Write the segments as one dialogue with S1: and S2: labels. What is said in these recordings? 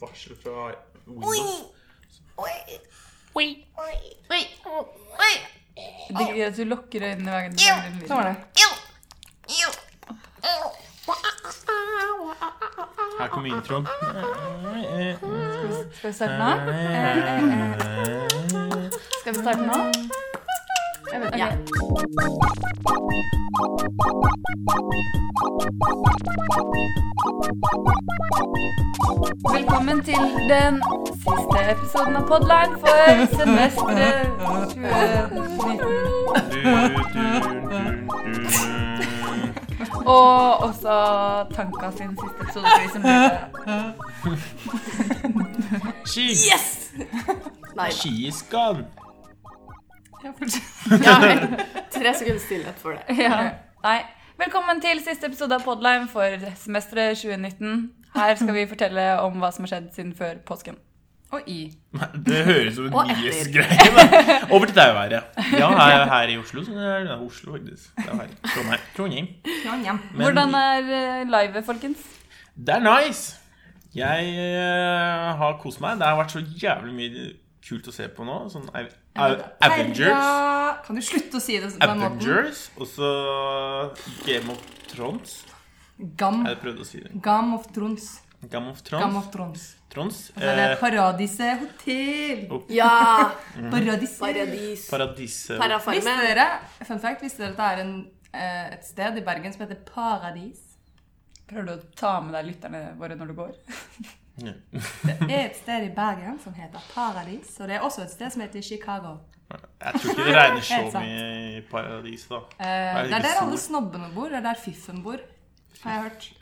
S1: varsel fra
S2: Oi!
S1: Windows.
S2: Oi!
S3: Oi.
S2: Oi!
S3: Oi. Oi.
S4: Jeg digger at du lukker øynene hver gang du
S2: Ja,
S4: hører den lyden.
S3: Sånn var det.
S2: Jo! Jo! Jo!
S1: Her kommer introen.
S4: Skal vi- Skal vi starte nå? Eh, eh, eh. Skal vi starte nå? Jeg vet,
S3: Ja.
S4: ok. Velkommen til den siste episoden av Podline for semesteret 2019. Og også Tanka sin siste episode. for de som hører det.
S1: Ski!
S3: Yes! Nei.
S1: Skiskad!
S4: Ja, fortsett.
S3: Ja, tre sekunder stillhet for det.
S4: Ja. Nei. Velkommen til siste episode av Podline for semesteret 2019. Her skal vi fortelle om hva som har skjedd siden før påsken. Og i.
S1: Det høres ut som
S3: Og
S1: en
S3: etter.
S1: nyhetsgreie. da. Over til deg, været. Ja, her, her i Oslo. Så det er det er Oslo, faktisk. Det er her. Trondheim. Trondheim. Men-
S4: Hvordan er eh, livet, folkens?
S1: Det er nice! Jeg eh, har kost meg. Det har vært så jævlig mye kult å se på nå. Sånn Av- Av- Avengers.
S3: Herja. Kan du slutte å si det på den måten?
S1: Avengers, og så Game of Thrones.
S3: Gam,
S1: Jeg prøvde å si det.
S3: Gam of Trons.
S1: Game of
S3: Gam
S1: Thrones.
S3: of Trons.
S1: Trons.
S3: Så er det
S1: Eh, Oh.
S3: Paradiset hotell.
S5: Ja!
S3: Paradiset.
S5: Paradis.
S1: Paradise.
S3: Visste
S5: Parafarmen.
S3: dere, fun fact, visste dere at det er en, eh, et sted i Bergen som heter Paradis?
S4: Prøver du å ta med deg lytterne våre når du går?
S1: Ja.
S3: Det er et sted i Bergen som heter Paradis, og det er også et sted som heter Chicago.
S1: Jeg tror ikke det regner så
S3: Helt sant.
S1: mye i paradiset, da. Er
S3: Eh,
S1: det
S3: det er
S1: ikke
S3: der
S1: sol?
S3: alle snobbene bor, det er der fiffen bor, har jeg hørt.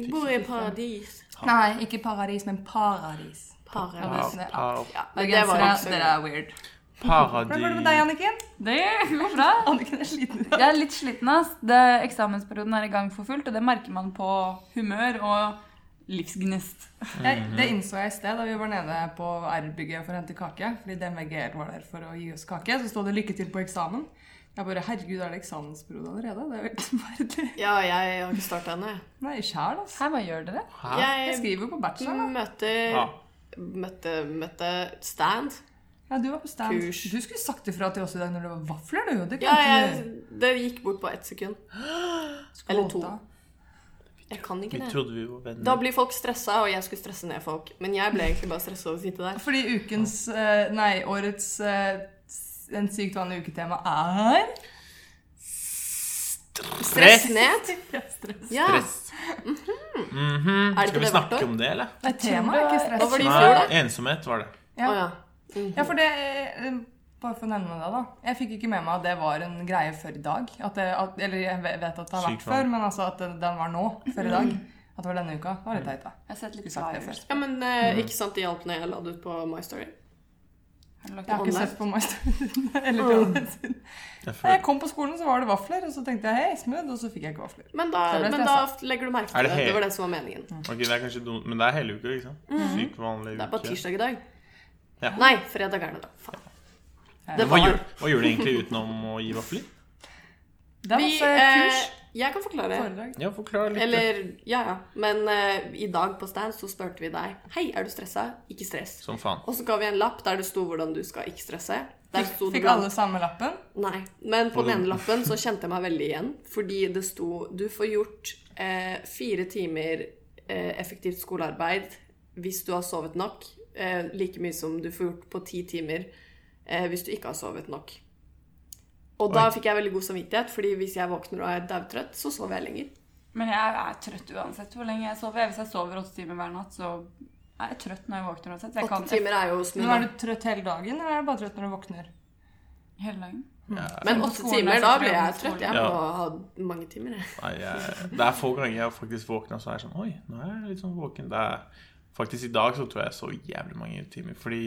S5: Jeg bor i paradis.
S3: Nei, ikke paradis, men paradis.
S5: Paradis.
S3: Paradisene.
S1: Pa-
S5: Ja, men det var
S3: Bergensere,
S5: ikke så
S3: dere er weird. Hvordan går det med deg,
S1: Paradis
S3: Anniken?
S4: Det går bra.
S3: Anniken er sliten. i dag.
S4: Jeg er litt sliten, ass. Det, eksamensperioden er i gang for fullt, og det merker man på humør og livsgnist.
S3: Jeg, det innså jeg i sted da vi var nede på R-bygget for å hente kake. Fordi DMVGL var der for å gi oss kake. Så stod det 'lykke til på eksamen'. Jeg bare 'herregud, er det eksamensperiode allerede?' Det er jo helt forferdelig.
S5: Ja, jeg har ikke starta ennå. jeg.
S3: Nei, sjæl, altså.
S4: Hei, hva gjør dere?
S1: Hæ?
S3: Jeg
S5: Jeg
S3: skriver jo på bacheloren. da.
S5: møter
S1: Ja.
S5: Møtte, møtte stand.
S3: Ja, du var på stand.
S5: Kurs.
S3: Du skulle sagt ifra til oss i dag når det var vafler, du. Det
S5: Ja,
S3: glemte
S5: jeg,
S3: du.
S5: det gikk bort på ett sekund.
S3: Skål,
S5: Eller to.
S3: da.
S5: Jeg kan
S1: Vi
S5: ikke det.
S1: trodde vi var
S5: Da
S1: venner.
S5: blir folk stressa, og jeg skulle stresse ned folk. Men jeg ble egentlig bare stressa over å sitte der.
S3: Fordi ukens eh, Nei, årets eh, s- en sykt vanlig uketema er
S5: Stress ned? Ja.
S1: Stress. Mhm.
S5: Er det
S1: Skal
S5: ikke
S1: vi
S5: det hvert
S1: snakke
S5: år?
S1: om det, eller?
S3: Nei, temaet er ikke stress.
S5: Hva var det i fjor,
S1: Nei,
S5: da?
S1: ensomhet var det.
S5: Å
S3: Ja.
S5: ja.
S3: Ja, for det eh, Bare for å nevne det, da. Jeg fikk ikke med meg at det var en greie før i dag. At det, at, eller jeg vet at det har vært
S1: Sykt vanlig.
S3: før, men altså at det- den var nå. Før i dag. At det var denne uka. Det var litt teit, da.
S4: Jeg har sett litt
S3: Skulle sagt det
S4: flyers.
S3: først.
S5: Ja, men eh, ikke sant det hjalp når jeg la det ut på My Story?
S4: Har du lagt
S3: Jeg har
S4: opp?
S3: ikke
S5: Online.
S3: sett på My Story. eller
S1: Mm.
S3: dramaen sin.
S1: Jeg
S3: Nei, Jeg
S1: føler-
S3: kom på skolen, så var det vafler, og så tenkte jeg hei, smooth, og så fikk jeg ikke vafler.
S5: Men da,
S3: Da ble jeg
S5: men da legger du merke
S1: Er det
S5: til det.
S1: helt-
S5: Det var det som var meningen.
S1: Ok, det er kanskje dumt, men det er hele uka, ikke sant? Sykt vanlig
S5: Det er bare
S1: uke.
S5: tirsdag i dag.
S1: Ja.
S5: Nei, fredag er det, da. Faen. Det
S1: Hva
S5: var
S1: gjør, hva gjør du egentlig utenom å gi vafler?
S3: Det er
S5: Vi,
S3: masse
S5: eh,
S3: Altså, kurs.
S5: jeg kan forklare.
S3: Foredrag.
S1: Ja, forklar litt.
S5: Eller Ja, ja. Men eh, i dag på stand så spurte vi deg Hei, er du stressa? Ikke stress.
S1: eh, Som faen.
S5: Og så ga vi en lapp der det sto hvordan du skal ikke stresse. Der sto det
S3: Fikk alle samme lappen.
S5: Nei. Men på den ene lappen så kjente jeg meg veldig igjen. Fordi det sto Du får gjort eh, fire timer eh, effektivt skolearbeid hvis du har sovet nok. Eh, like mye som du får gjort på ti timer eh, hvis du ikke har sovet nok. Og da
S1: Oi.
S5: fikk jeg veldig god samvittighet, fordi hvis jeg våkner og er daudtrøtt, så sover jeg lenger.
S4: Men jeg er trøtt uansett hvor lenge jeg sover. Hvis jeg sover åtte timer hver natt, så er jeg trøtt når jeg våkner uansett. Jeg
S5: Åtte
S4: kan
S5: timer er jo
S3: Men er
S5: smooth.
S3: du trøtt hele dagen, eller er du bare trøtt når du våkner?
S4: hele dagen.
S5: Men
S4: På
S5: åtte
S4: skolen altså,
S5: timer,
S4: er
S5: da
S4: det
S5: blir jeg
S4: på
S5: trøtt. Jeg
S1: skolen.
S5: må ha mange timer, jeg.
S1: Nei, jeg, det er få ganger jeg faktisk våkner og så er jeg sånn Oi, nå er jeg litt sånn våken. Det er, faktisk i dag så tror jeg jeg sov jævlig mange timer. Fordi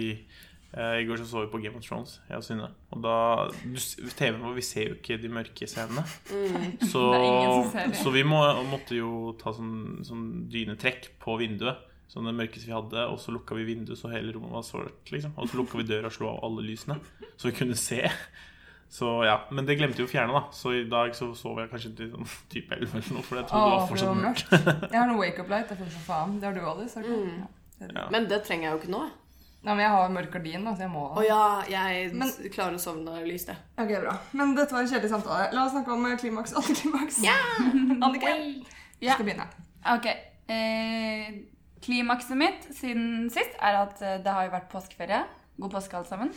S1: eh, i går så så vi på Game of Thrones, jeg og Synne. Og da du s- TV-en vår, vi ser jo ikke de mørke scenene. Så,
S4: Mm. Det er ingen som ser det.
S1: så vi må, måtte jo ta sånn, sånn dynetrekk på vinduet. Sånn det mørkeste vi hadde, og så lukka vi vinduet så hele rommet var svart. liksom Og så lukka vi døra og slo av alle lysene, så vi kunne se. Så ja, Men det glemte vi å fjerne, da. Så i dag så sov jeg kanskje til sånn type 11 eller noe. For jeg trodde det
S3: Åh,
S1: var fortsatt mørkt.
S3: Jeg har noe wake-up light. Jeg får så faen. Det har du, Alice. har du? Ja. ser ut.
S1: Ja.
S5: Men det trenger jeg jo ikke nå. jeg.
S3: Nei, men jeg har mørk gardin, da, så jeg må
S5: Å ja, jeg
S3: Men-
S5: s- klarer å sovne lyst, jeg.
S3: Ok, bra. Men dette var en kjedelig samtale. La oss snakke om eh, klimaks og antiklimaks. Ja! Anniken, du
S4: Ja.
S3: skal begynne.
S4: Ok. Eh, klimakset mitt siden sist er at eh, det har jo vært påskeferie. God påske, alle sammen.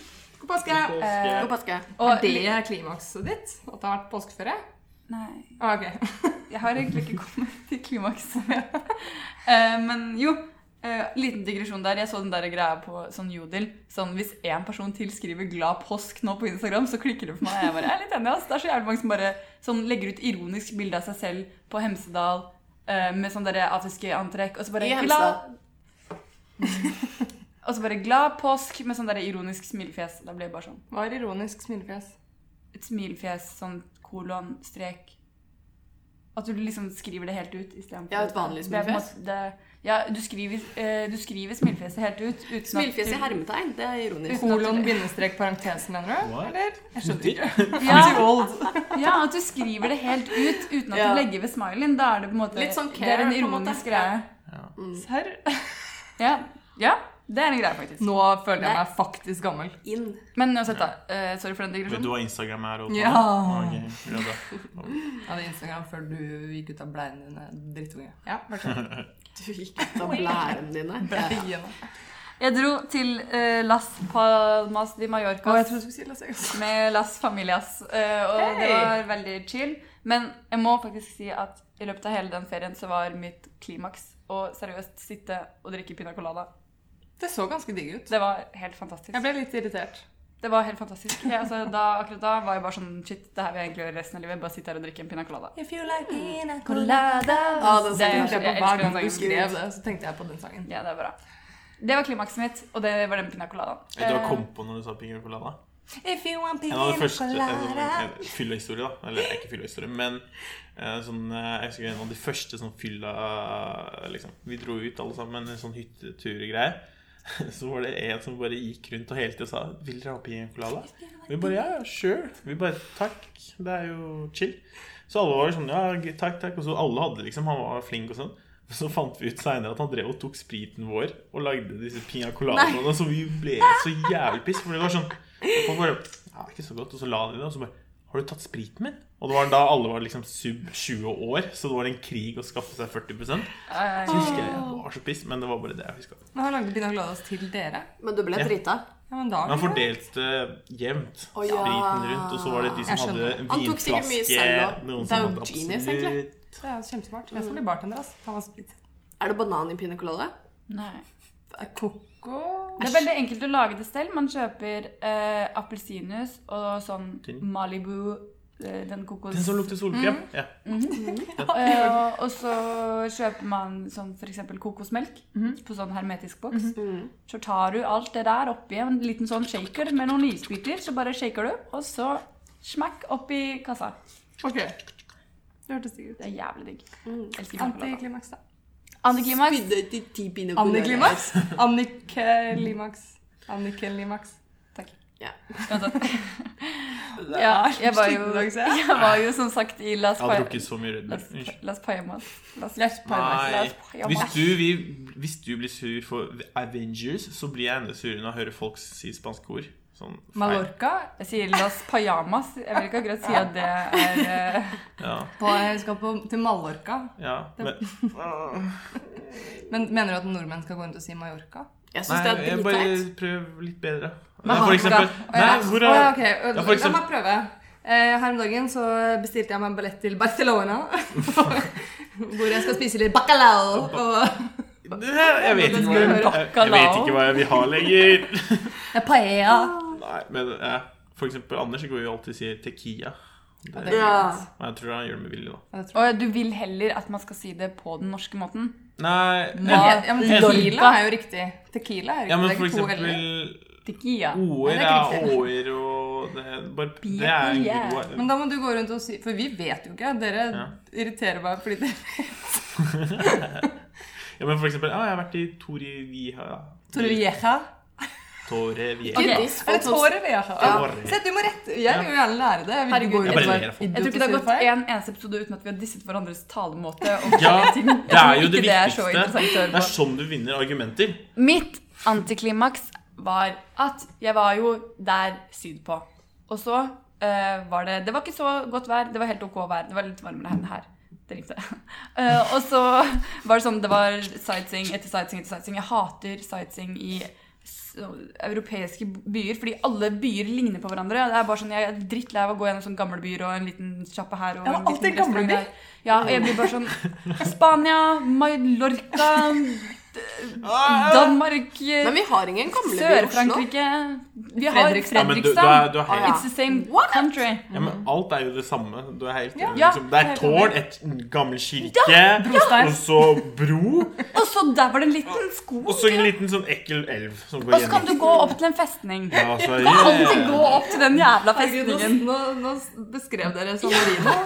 S3: God påske! Eh,
S5: God påske.
S3: Og det
S4: li-
S3: er klimakset ditt? At det har vært påskeferie?
S4: Nei.
S3: Ah, ok.
S4: Jeg har egentlig ikke kommet til klimakset. Eh, men jo, eh, liten digresjon der. Jeg så den der greia på sånn Jodel. Sånn, hvis én person til skriver 'glad påsk' nå på Instagram, så klikker det for meg. Jeg bare, jeg er litt enig, ass. Det er så jævlig mange som bare sånn, legger ut ironisk bilde av seg selv på Hemsedal eh, med sånn derre atiske antrekk, og så bare
S5: I Hemsedal.
S4: glad... Og så bare 'glad påsk' med sånn der ironisk smilefjes. Da blir det bare sånn.
S3: Hva er ironisk smilefjes?
S4: Et smilefjes, sånn kolon, strek At du liksom skriver det helt ut istedenfor
S5: Ja, et vanlig
S4: Det er på en
S5: smilefjes.
S4: måte- det- Ja, du skriver, eh, du skriver smilefjeset helt ut. Uten at
S5: Smilefjes
S4: du-
S5: i hermetegn, det er ironisk.
S3: Kolon, bindestrek, parentes, mener du?
S1: What?
S3: Eller? Jeg skjønner ikke. Too
S4: Ja,
S3: old.
S4: ja, at du skriver det helt ut uten at
S5: Ja.
S4: du legger ved smileyen. Da er det på en måte
S5: Litt sånn
S4: Det er en
S5: care, på en måte.
S4: ironisk greie.
S3: Serr?
S4: Ja. ja, det er en greie, faktisk.
S3: Nå føler jeg meg faktisk gammel.
S5: Inn.
S4: Men uansett, da. eh, sorry for den
S1: Vet du
S4: digresjonen.
S1: hva Instagram er? Otta?
S3: Ja.
S1: Ok, bra da.
S3: Jeg hadde Instagram før du gikk ut av bleiene dine, drittunge. Ja, sånn. vær så god.
S5: Du gikk ut av blærene dine.
S3: Bleiene.
S4: Jeg dro til eh, Las Palmas de Mallorca.
S3: Å, jeg trodde du skulle si Las Vegas.
S4: med Las Familias. eh, Og det
S3: Hey!
S4: var veldig chill. Men jeg må faktisk si at i løpet av hele den ferien så var mitt klimaks å seriøst sitte og drikke piña colada.
S3: Det så ganske digg ut.
S4: Det var helt fantastisk.
S3: Jeg ble litt irritert.
S4: Det var helt fantastisk. Jeg, altså, da, akkurat da var jeg bare sånn Shit, det her vil jeg egentlig gjøre resten av livet. Bare sitte her og drikke en piña colada.
S3: If you like pina
S4: colada.
S5: Ja, den
S4: Det
S5: sangen
S4: er-
S3: tenkte jeg på hver
S4: jeg elsker
S3: gang
S4: den
S3: du
S4: sangen.
S3: skrev det, så tenkte jeg på den sangen.
S4: Ja, det er bra. Det var klimakset mitt, og det var den piña coladaen.
S1: Vet du hva jeg
S4: Eh,
S1: kom på når du sa piña colada?
S3: If you want
S1: En av de første en sånn- en fyllehistorie, da. Eller ikke fyllehistorie, men eh, sånn, eh, jeg husker en av de første sånn fylla liksom. Vi dro ut alle sammen, en sånn hytteturgreier. Så var det en som bare gikk rundt og hele tiden sa 'Vil dere ha piña colada?' Vi bare 'Ja, ja, sure'. Vi bare 'Takk, det er jo chill'. Så alle var sånn 'Ja, g- takk, takk'. Og så alle hadde liksom Han var flink og sånn. Men så fant vi ut seinere at han drev og tok spriten vår og lagde disse piña coladaene. Så vi ble så jævlig piss. For det var sånn Folk bare Ja, ikke så godt. Og så la de det, og så bare Har du tatt spriten min? Og det var da alle var liksom sub 20 år, så det var en krig å skaffe seg 40
S4: eh,
S1: Så husker jeg jeg var så piss, men det var bare det jeg huska.
S3: Men han lagde Pina Gladas til dere.
S5: Men du ble
S1: Ja.
S5: drita.
S3: Ja, men da
S1: Men han fordelte jevnt
S5: Å, ja.
S1: spriten rundt, og så var det de
S3: Jeg
S1: som hadde
S3: skjønner.
S5: Han tok sikkert mye
S1: vinflaske
S5: selv også.
S1: noen
S5: Det
S1: som
S5: er jo
S1: hadde
S5: genius,
S1: absolutt-
S3: Det er kjempesmart. Jeg skal bli bartender, ass. Ta meg sprit.
S5: Er det banan i pina colada?
S4: Nei.
S3: Koko
S4: Det er veldig enkelt å lage det selv. Man kjøper eh, appelsinjuice og sånn
S1: Tynn.
S4: Malibu eh, Den kokos...
S1: Den som lukter solkrem.
S5: Mm.
S1: Ja.
S4: Eh, og så kjøper man sånn f.eks. kokosmelk
S1: Mhm.
S4: på sånn hermetisk boks. Så tar du alt det der oppi en liten sånn shaker med noen isbiter. Så bare shaker du, og så smakk oppi kassa.
S3: Ok. Det hørtes digg ut.
S4: Det er jævlig digg.
S1: Mhm.
S4: Elsker kakerlakker.
S3: Antiklimaks, da.
S4: Antiklimaks.
S5: Spydde ut i ti pina colada.
S3: Anniklimaks? Anniklimaks. Anniklimaks.
S4: Takk.
S5: Ja.
S4: Ja, jeg var jo,
S3: sliten i dag, ser jeg.
S4: jeg var jo som sagt i Las
S1: Jeg har
S4: Palmas.
S1: drukket så mye Red Bull.
S4: Las,
S1: Unnskyld.
S4: Las Palmas. Las,
S3: Yes, perfekt.
S4: La
S1: Nei.
S4: oss jobbe.
S1: Hvis du, vi, hvis du blir sur for The Avengers, så blir jeg enda surere når jeg hører folk si spanske ord. Sånn feil.
S3: Mallorca.
S4: Jeg sier Las Pajamas. Jeg vil ikke akkurat si at det er eh,
S1: Ja,
S3: På, jeg skal på, til Mallorca.
S1: ja. Men,
S3: Men mener du at nordmenn skal gå rundt og si Mallorca?
S1: nei,
S5: Jeg syns det er
S1: jeg bare
S5: dritteit.
S1: prøv litt bedre.
S4: Men
S1: Nei, for
S4: han-
S1: eksempel
S3: Å, ja.
S1: Nei, hvor
S3: Å, ja,
S1: er
S3: ok.
S1: Ja, for
S3: La
S1: eksempel-
S3: meg prøve. Eh, her om dagen så bestilte jeg meg en billett til Barcelona. hvor jeg skal spise litt bacalao. Og
S1: Det her- Jeg vet ikke hva jeg, jeg, jeg vet ikke hva jeg vil ha lenger.
S3: paella.
S1: Nei, men eh, for eksempel Anders går jo alltid og sier Tequila. Det,
S3: det-
S5: Ja.
S1: men jeg tror han gjør det med vilje, da.
S4: Og du vil heller at man skal si det på den norske måten?
S1: Nei
S3: Ja,
S1: eh,
S3: ja, men
S1: en-
S3: tequila er jo riktig. Tequila er riktig.
S1: Ja, men
S3: Det er
S1: for
S3: ikke to heller.
S1: eksempel
S4: Tequila.
S1: O-er
S3: Nei, det
S1: er
S3: er ikke
S1: Å-er og det, bare, det er en god
S3: Men da må du gå rundt og si For vi vet jo ikke. Dere
S1: Ja.
S3: irriterer meg fordi dere
S1: Ja, men for eksempel Ja, jeg har vært i Torrevieja.
S3: Torrevieja.
S1: Tårevier.
S4: Ok.
S5: Gidis,
S3: Er det
S5: folk som-
S3: tårer vi har?
S1: Ja.
S3: Se, du må rette Jeg vil jo gjerne lære det. Jeg vil
S5: Herregud,
S3: ikke gå
S5: jeg
S3: ut
S1: bare
S3: og
S1: ler av
S3: være
S1: folk.
S4: Jeg tror ikke det har
S3: idiotisk
S4: gått
S3: feil.
S4: én eneste episode uten at vi har disset hverandres talemåte. Og
S1: Ja,
S4: forskjellige ting. Jeg
S1: det er
S4: tror
S1: jo det
S4: ikke er så
S1: viktigste.
S4: interessant å høre
S1: Det
S4: på.
S1: er sånn du vinner argumenter.
S4: Mitt antiklimaks var at jeg var jo der sydpå. Og så eh, var det Det var ikke så godt vær. Det var helt ok vær. Det var litt varmere enn her. Det ringte. Eh, og så var det sånn Det var sightseeing etter sightseeing etter sightseeing. Jeg hater sightseeing i så- europeiske byer, fordi alle byer ligner på hverandre. Det er bare sånn, Jeg er drittlei av å gå gjennom sånn gamle byer og en liten sjappe her. Og
S3: Ja, det
S4: en
S3: var
S4: liten
S3: alltid gamle
S4: restaurant
S3: byer.
S4: der. Ja, og jeg blir bare sånn Spania, Mallorca, Danmark eh,
S5: Men vi har ingen gamleby i Oslo.
S4: Sør-Frankrike Vi har
S1: Ja, men du, du er,
S4: Fredrikstad.
S1: du er
S5: Ah,
S1: helt
S5: ja.
S4: It's the same
S5: What?
S4: country.
S1: Ja, men alt er jo det samme. Du er helt,
S4: Ja,
S1: liksom, det er
S4: jeg er
S1: tårn,
S4: enig.
S1: et en gammel kirke,
S3: brostein.
S1: og så bro,
S4: Og så der var det en liten skog.
S1: og så en liten sånn ekkel elv som går
S4: Og så kan
S1: gjennom.
S4: du gå opp til en festning.
S1: Ja, så er,
S4: Alltid gå opp til den jævla
S5: Herregud, nå,
S4: festningen.
S5: nå, nå beskrev dere Samarino.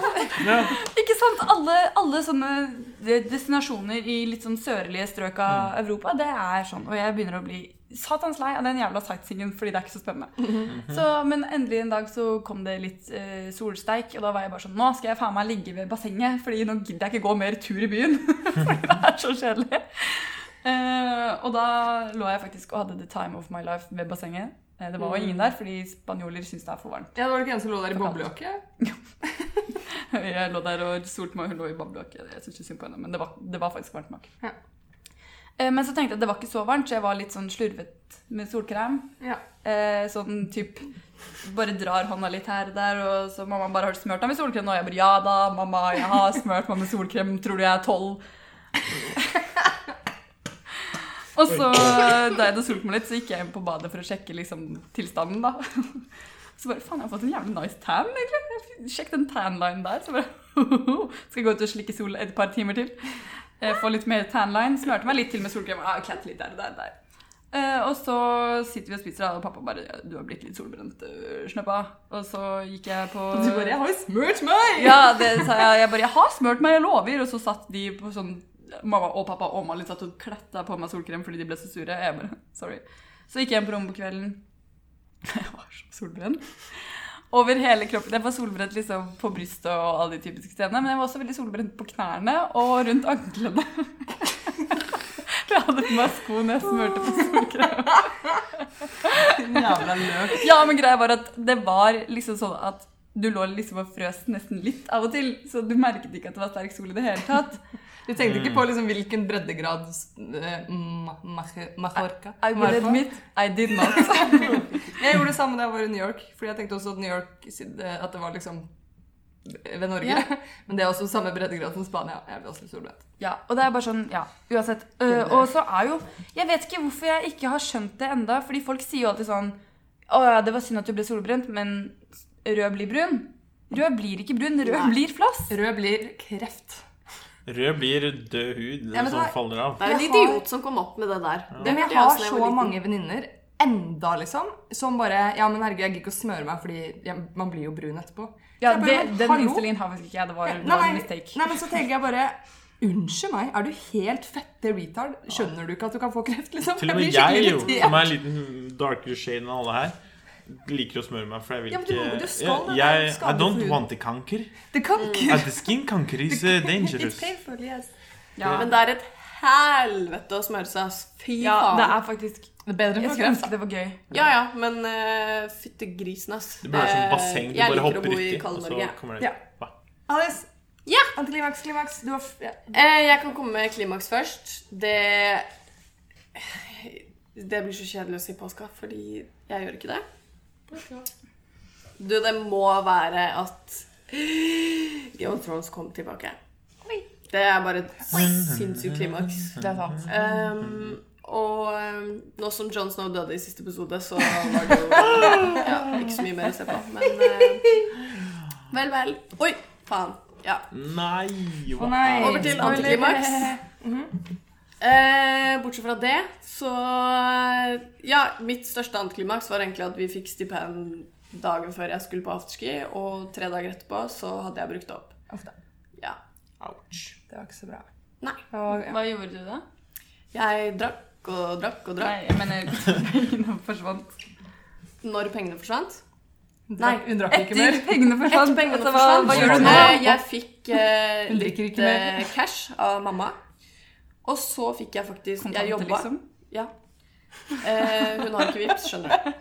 S1: ja.
S4: Ikke sant? Alle, alle sånne de- destinasjoner i litt sånn sørlige strøk av Europa, det er sånn. Og jeg begynner å bli satans lei av den jævla sightseeingen fordi det er ikke så spennende. Så, men endelig en dag så kom det litt eh, solsteik, og da var jeg bare sånn Nå skal jeg faen meg ligge ved bassenget, fordi nå gidder jeg ikke gå mer tur i byen. fordi det er så kjedelig. Eh, og da lå jeg faktisk og hadde the time of my life ved bassenget. Eh, det var jo ingen der, fordi spanjoler syns det er for varmt.
S3: Ja, det var ikke en som lå der i
S4: For kaldt.
S3: boblejakke?
S4: Jeg lå der og solte meg, hun lå i boblejakke. Jeg synes ikke synd på henne, men det var, det var faktisk varmt nok.
S3: Ja.
S4: Eh, Men så tenkte jeg at det var ikke så varmt, så jeg var litt sånn slurvet med solkrem.
S3: Ja.
S4: Eh, Sånn typ bare drar hånda litt her og der, og så mamma bare har du smørt deg med solkrem nå. Og jeg bare ja da, mamma, jeg har smørt meg med solkrem, tror du jeg er tolv? og så, da jeg hadde solt meg litt, så gikk jeg inn på badet for å sjekke liksom tilstanden, da. Så bare faen, jeg har fått en jævlig nice tan, egentlig. Sjekk den tanlinen der. Så bare skal jeg gå ut og slikke sol et par timer til. Eh, Få litt mer tanline. Smørte meg litt til med solkrem. Ah, klatt litt der, der, der. Eh, og så sitter vi og spiser, da, og pappa bare «Ja, 'Du har blitt litt solbrent, øh, snøppa'. Og så gikk jeg på
S3: Og du bare 'Jeg har jo smurt meg!'
S4: ja, det sa jeg. Jeg bare 'Jeg har smurt meg, jeg lover'. Og så satt de på sånn Mamma og pappa og Malin satt og kletta på meg solkrem fordi de ble så sure. Jeg bare Sorry. Så gikk jeg hjem på rommet på kvelden. Jeg var så solbrent. Over hele kroppen. Jeg var solbrent liksom på brystet og alle de typiske stedene, men jeg var også veldig solbrent på knærne og rundt anklene. Jeg hadde på meg sko når jeg smurte på solkrem.
S3: Jævla løk.
S4: Ja, men greia var at det var liksom sånn at du lå liksom og frøs nesten litt av og til, så du merket ikke at det var sterk sol i det hele tatt.
S3: Du tenkte
S1: Mm.
S3: ikke på liksom hvilken breddegrad eh, Ma- Maje- Majorca
S4: I will
S3: var på?
S4: admit, I did not.
S3: Jeg gjorde det samme da jeg var i New York, fordi jeg tenkte også at New York At det var liksom ved Norge.
S4: Ja.
S3: Men det er også samme breddegrad som Spania. Jeg blir også litt solbrent.
S4: Ja, og det er bare sånn, ja, uansett. Øh, og så er jo Jeg vet ikke hvorfor jeg ikke har skjønt det enda, fordi folk sier jo alltid sånn Å ja, det var synd at du ble solbrent, men rød blir brun. Rød blir ikke brun, rød
S5: Nei.
S4: blir flass.
S3: Rød blir kreft.
S1: Rød blir død hud
S3: Ja, men
S1: som
S3: det er-
S1: faller av.
S5: Det er en
S3: Jeg har-
S5: idiot som kom opp med det der.
S3: Det, men
S5: hørte
S3: jeg har
S5: også da var
S3: så
S5: liten.
S3: mange venninner enda, liksom, som bare Ja, men herregud, jeg gidder ikke å smøre meg, fordi jeg, man blir jo brun etterpå. Så
S4: Ja,
S3: jeg bare,
S4: det,
S3: men
S4: Den
S3: hallo?
S4: innstillingen har faktisk ikke jeg. Det var, det
S3: Nei,
S4: var en
S3: nei,
S4: mistake.
S3: nei, men så tenker jeg bare Unnskyld meg, er du helt fette retard? Skjønner du ikke at du kan få kreft, liksom?
S1: Til og med
S3: blir skikkelig
S1: jeg, jo,
S3: irritert.
S1: som er en liten darkere shade enn alle her, liker å smøre meg, for jeg vil
S3: Ja, men du
S1: ikke
S3: må- du skal da,
S1: jeg, jeg,
S3: du
S1: I
S3: skal jo
S1: don't
S3: få hud.
S1: want the canker.
S3: Det kan ikke
S1: Uh, the skin canker is uh, dangerous.
S4: Ja,
S5: Men det er et helvete å smøre seg. ass. Fy
S4: ja, det
S5: faen.
S4: er faktisk
S3: Det er bedre
S4: Jeg
S3: enn
S4: skulle
S3: kreft.
S4: ønske det var gøy.
S5: Ja ja, men uh, fytti grisen, ass.
S1: Det blir som
S5: Eh,
S1: et basseng. Du
S5: jeg
S1: bare
S5: liker å
S1: hopper
S5: bo i
S1: uti, og
S5: kalde
S1: så
S5: Norge.
S1: kommer det
S3: Ja.
S1: Hva?
S3: Alice!
S5: Ja!
S3: Antiklimaks, klimaks. Du har f ja.
S5: Eh, jeg kan komme med klimaks først. Det Det blir så kjedelig å si påska, fordi jeg gjør ikke det. Du, det må være at Game of Thrones kom tilbake. Det er bare et sinnssykt klimaks.
S4: Det er sant.
S5: Ehm, og ehm, nå som Jon Snow døde i siste episode, så var det jo ja, ikke så mye mer å se på. Men eh, vel, vel. Oi, faen. Ja.
S1: Nei!
S3: Å nei.
S5: Over til
S3: Spoiler.
S5: antiklimaks. Eh, bortsett fra det, så eh, Ja, mitt største antiklimaks var egentlig at vi fikk stipend dagen før jeg skulle på afterski, og tre dager etterpå så hadde jeg brukt det opp.
S3: Uff da,
S5: Ja.
S1: Ouch.
S3: Det var ikke så bra.
S5: Nei.
S3: Det var, ja.
S4: Hva gjorde du da?
S5: Jeg drakk og drakk og drakk.
S4: Nei, jeg mener pengene forsvant.
S5: Når pengene forsvant.
S3: Hun
S5: Nei,
S3: drakk- hun drakk ikke
S4: Etter
S3: mer.
S4: pengene forsvant.
S5: Etter pengene
S4: altså, hva,
S5: forsvant,
S4: hva gjør du nå?
S5: eh, Jeg fikk eh,
S3: Hun
S5: litt
S3: drikker ikke mer.
S5: eh, cash av mamma. Og så fikk jeg faktisk
S4: Kontanter,
S5: Jeg jobba.
S4: liksom?
S5: Ja. Eh, hun har ikke vips, skjønner jeg.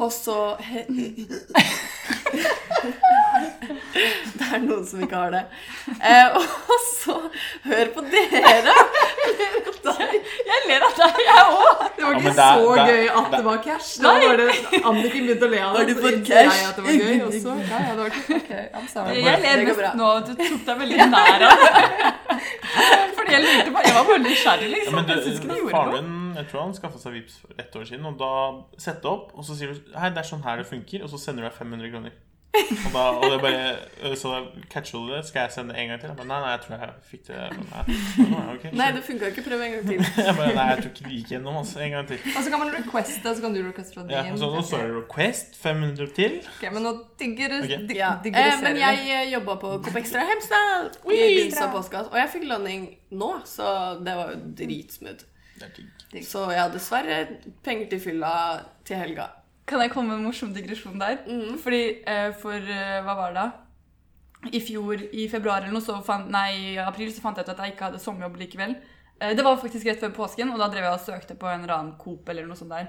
S5: Og så Det er noen som ikke har det. Eh, og så Hør på dere!
S4: Jeg ler av deg, jeg òg!
S3: Det
S1: Ja,
S3: var ikke
S1: men der-
S3: så
S1: der-
S3: gøy at det var cash. Da var det Anniken begynte å le av
S5: Har
S3: det.
S5: du
S3: så
S5: fått
S3: innså jeg
S5: cash?
S3: at det var gøy også. Ja, ja, det var ikke ok, I'm sorry.
S4: Jeg ler
S5: Det går bra.
S4: mest nå at du tok deg veldig nær av det. Fordi jeg lurte på Jeg var bare nysgjerrig,
S1: Ja,
S4: liksom.
S1: men det,
S4: jeg synes ikke du gjorde
S1: faren
S4: noe.
S1: min jeg tror han skaffa seg Vipps for ett år siden. Og da setter du opp, og så sier du Hei, det er sånn her det funker. Og så sender du deg 500 kroner. Og, da, og det er bare øh, Så da catcher du det. Skal jeg sende det en gang til? Jeg bare, nei, nei, jeg tror jeg fikk det. Men nei, ok,
S5: Nei, det funka ikke. Prøv en gang til.
S1: jeg bare, nei, jeg tror ikke det gikk gjennom. Altså, en gang til.
S3: Og så kan man requeste, så kan du requeste fra din.
S1: Ja, og så nå står det Request 500 til.
S3: Ok, men nå digger
S1: Ok.
S3: dig-
S5: Ja. Eh,
S3: digresserer
S5: men
S3: vi.
S5: jeg jobba på Coop Extra Hemsedal. i begynnelsen av påska, Og jeg fikk lønning nå, så det var jo dritsmooth.
S1: Det er digg.
S5: Så jeg hadde dessverre penger til fylla til helga.
S4: Kan jeg komme med en morsom digresjon der? Fordi eh, for eh, Hva var det da? I fjor, i februar eller noe, så fant, nei, i april, så fant jeg ut at jeg ikke hadde sommerjobb likevel. Eh, det var faktisk rett før påsken, og da drev jeg og søkte på en eller annen Coop eller noe sånt der.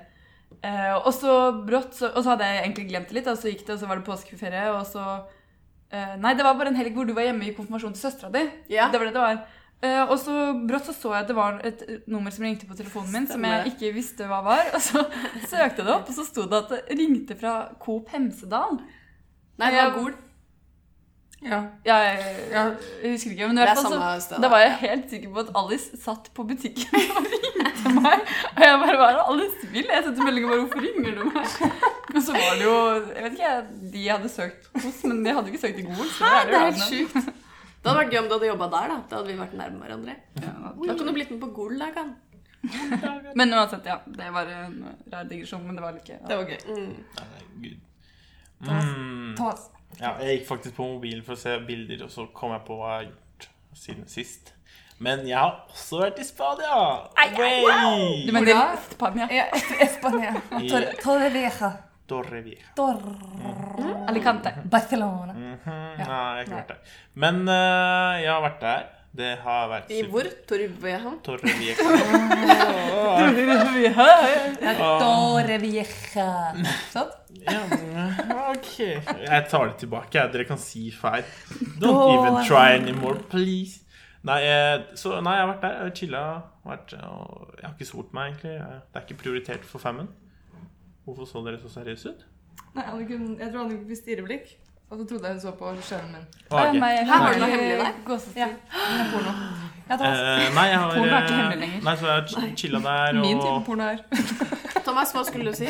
S4: Eh, og så brått, så, og så hadde jeg egentlig glemt det litt, og så gikk det, og så var det påskeferie, og så eh, Nei, det var bare en helg hvor du var hjemme i konfirmasjonen til søstera di.
S5: Ja.
S4: Det var det det var. Eh, og så brått så så jeg at det var et nummer som ringte på telefonen min, som
S5: Stemmer
S4: jeg
S5: det.
S4: ikke visste hva var. Og så søkte jeg det opp, og så sto det at det ringte fra Coop Hemsedal.
S5: Nei, det var Gol.
S3: Ja.
S4: Jeg,
S3: Ja.
S4: jeg husker ikke, men i
S5: Det er
S4: hvert fall
S5: samme
S4: så
S5: sted, da.
S4: Da var jeg helt sikker på at Alice satt på butikken og ringte meg. Og jeg bare Hva er det Alice vil? Jeg sendte melding og bare Hvorfor ringer du meg? Men så var det jo Jeg vet ikke, de jeg hadde søkt hos, men de hadde ikke søkt i Gol. Så da er det,
S5: Det
S4: jo
S5: er helt
S4: random.
S5: sjukt. Det hadde vært gøy om du hadde jobba der, da. Da hadde vi vært nærme hverandre. Da kunne du blitt med på Gol-dagen.
S4: Men uansett, ja. Det var en rar digresjon, men det var ikke
S3: Det var gøy.
S1: Nei, nei, gud. Mm.
S3: Thomas.
S1: Ja, jeg gikk faktisk på mobilen for å se bilder, og så kom jeg på hva jeg har gjort siden sist. Men jeg har også vært i Spania! Wey!
S4: Du mener
S3: Hvordan?
S4: Spania?
S3: Ja, Espania.
S1: Tor-
S3: Torrevieja.
S1: Torrevieja.
S4: Alicante.
S3: Barcelona.
S1: Mhm, Nei,
S3: Ja.
S1: jeg har ikke
S3: Nei.
S1: vært der. Men eh, jeg har vært der. Det har vært
S5: I hvor? Torvvehan?
S1: Torrevieja.
S3: Torrevieja. Sånn?
S1: Ja, men, eh, OK. Jeg tar det tilbake. jeg. Dere kan si feil. Don't even try anymore, please. Nei, eh, så, nei jeg har vært der. Jeg har chilla. Vært, eh, og jeg har ikke solt meg, egentlig. Jeg- Det er ikke prioritert for femmen. Hvorfor så dere så seriøse ut?
S3: Nei, Anniken, jeg tror Anniken fikk stirreblikk. Og så trodde jeg hun så på skjermen min.
S1: Ok.
S4: Her
S5: var det noe hemmelig der.
S4: Gåsestid.
S3: Ja. Hun er porno. Ja, Thomas.
S1: Eh, nei, jeg har,
S4: Porno er ikke
S1: eh,
S4: hemmelig lenger.
S1: Nei, så jeg har chilla der og
S3: Min type porno er
S5: Thomas, hva skulle du si?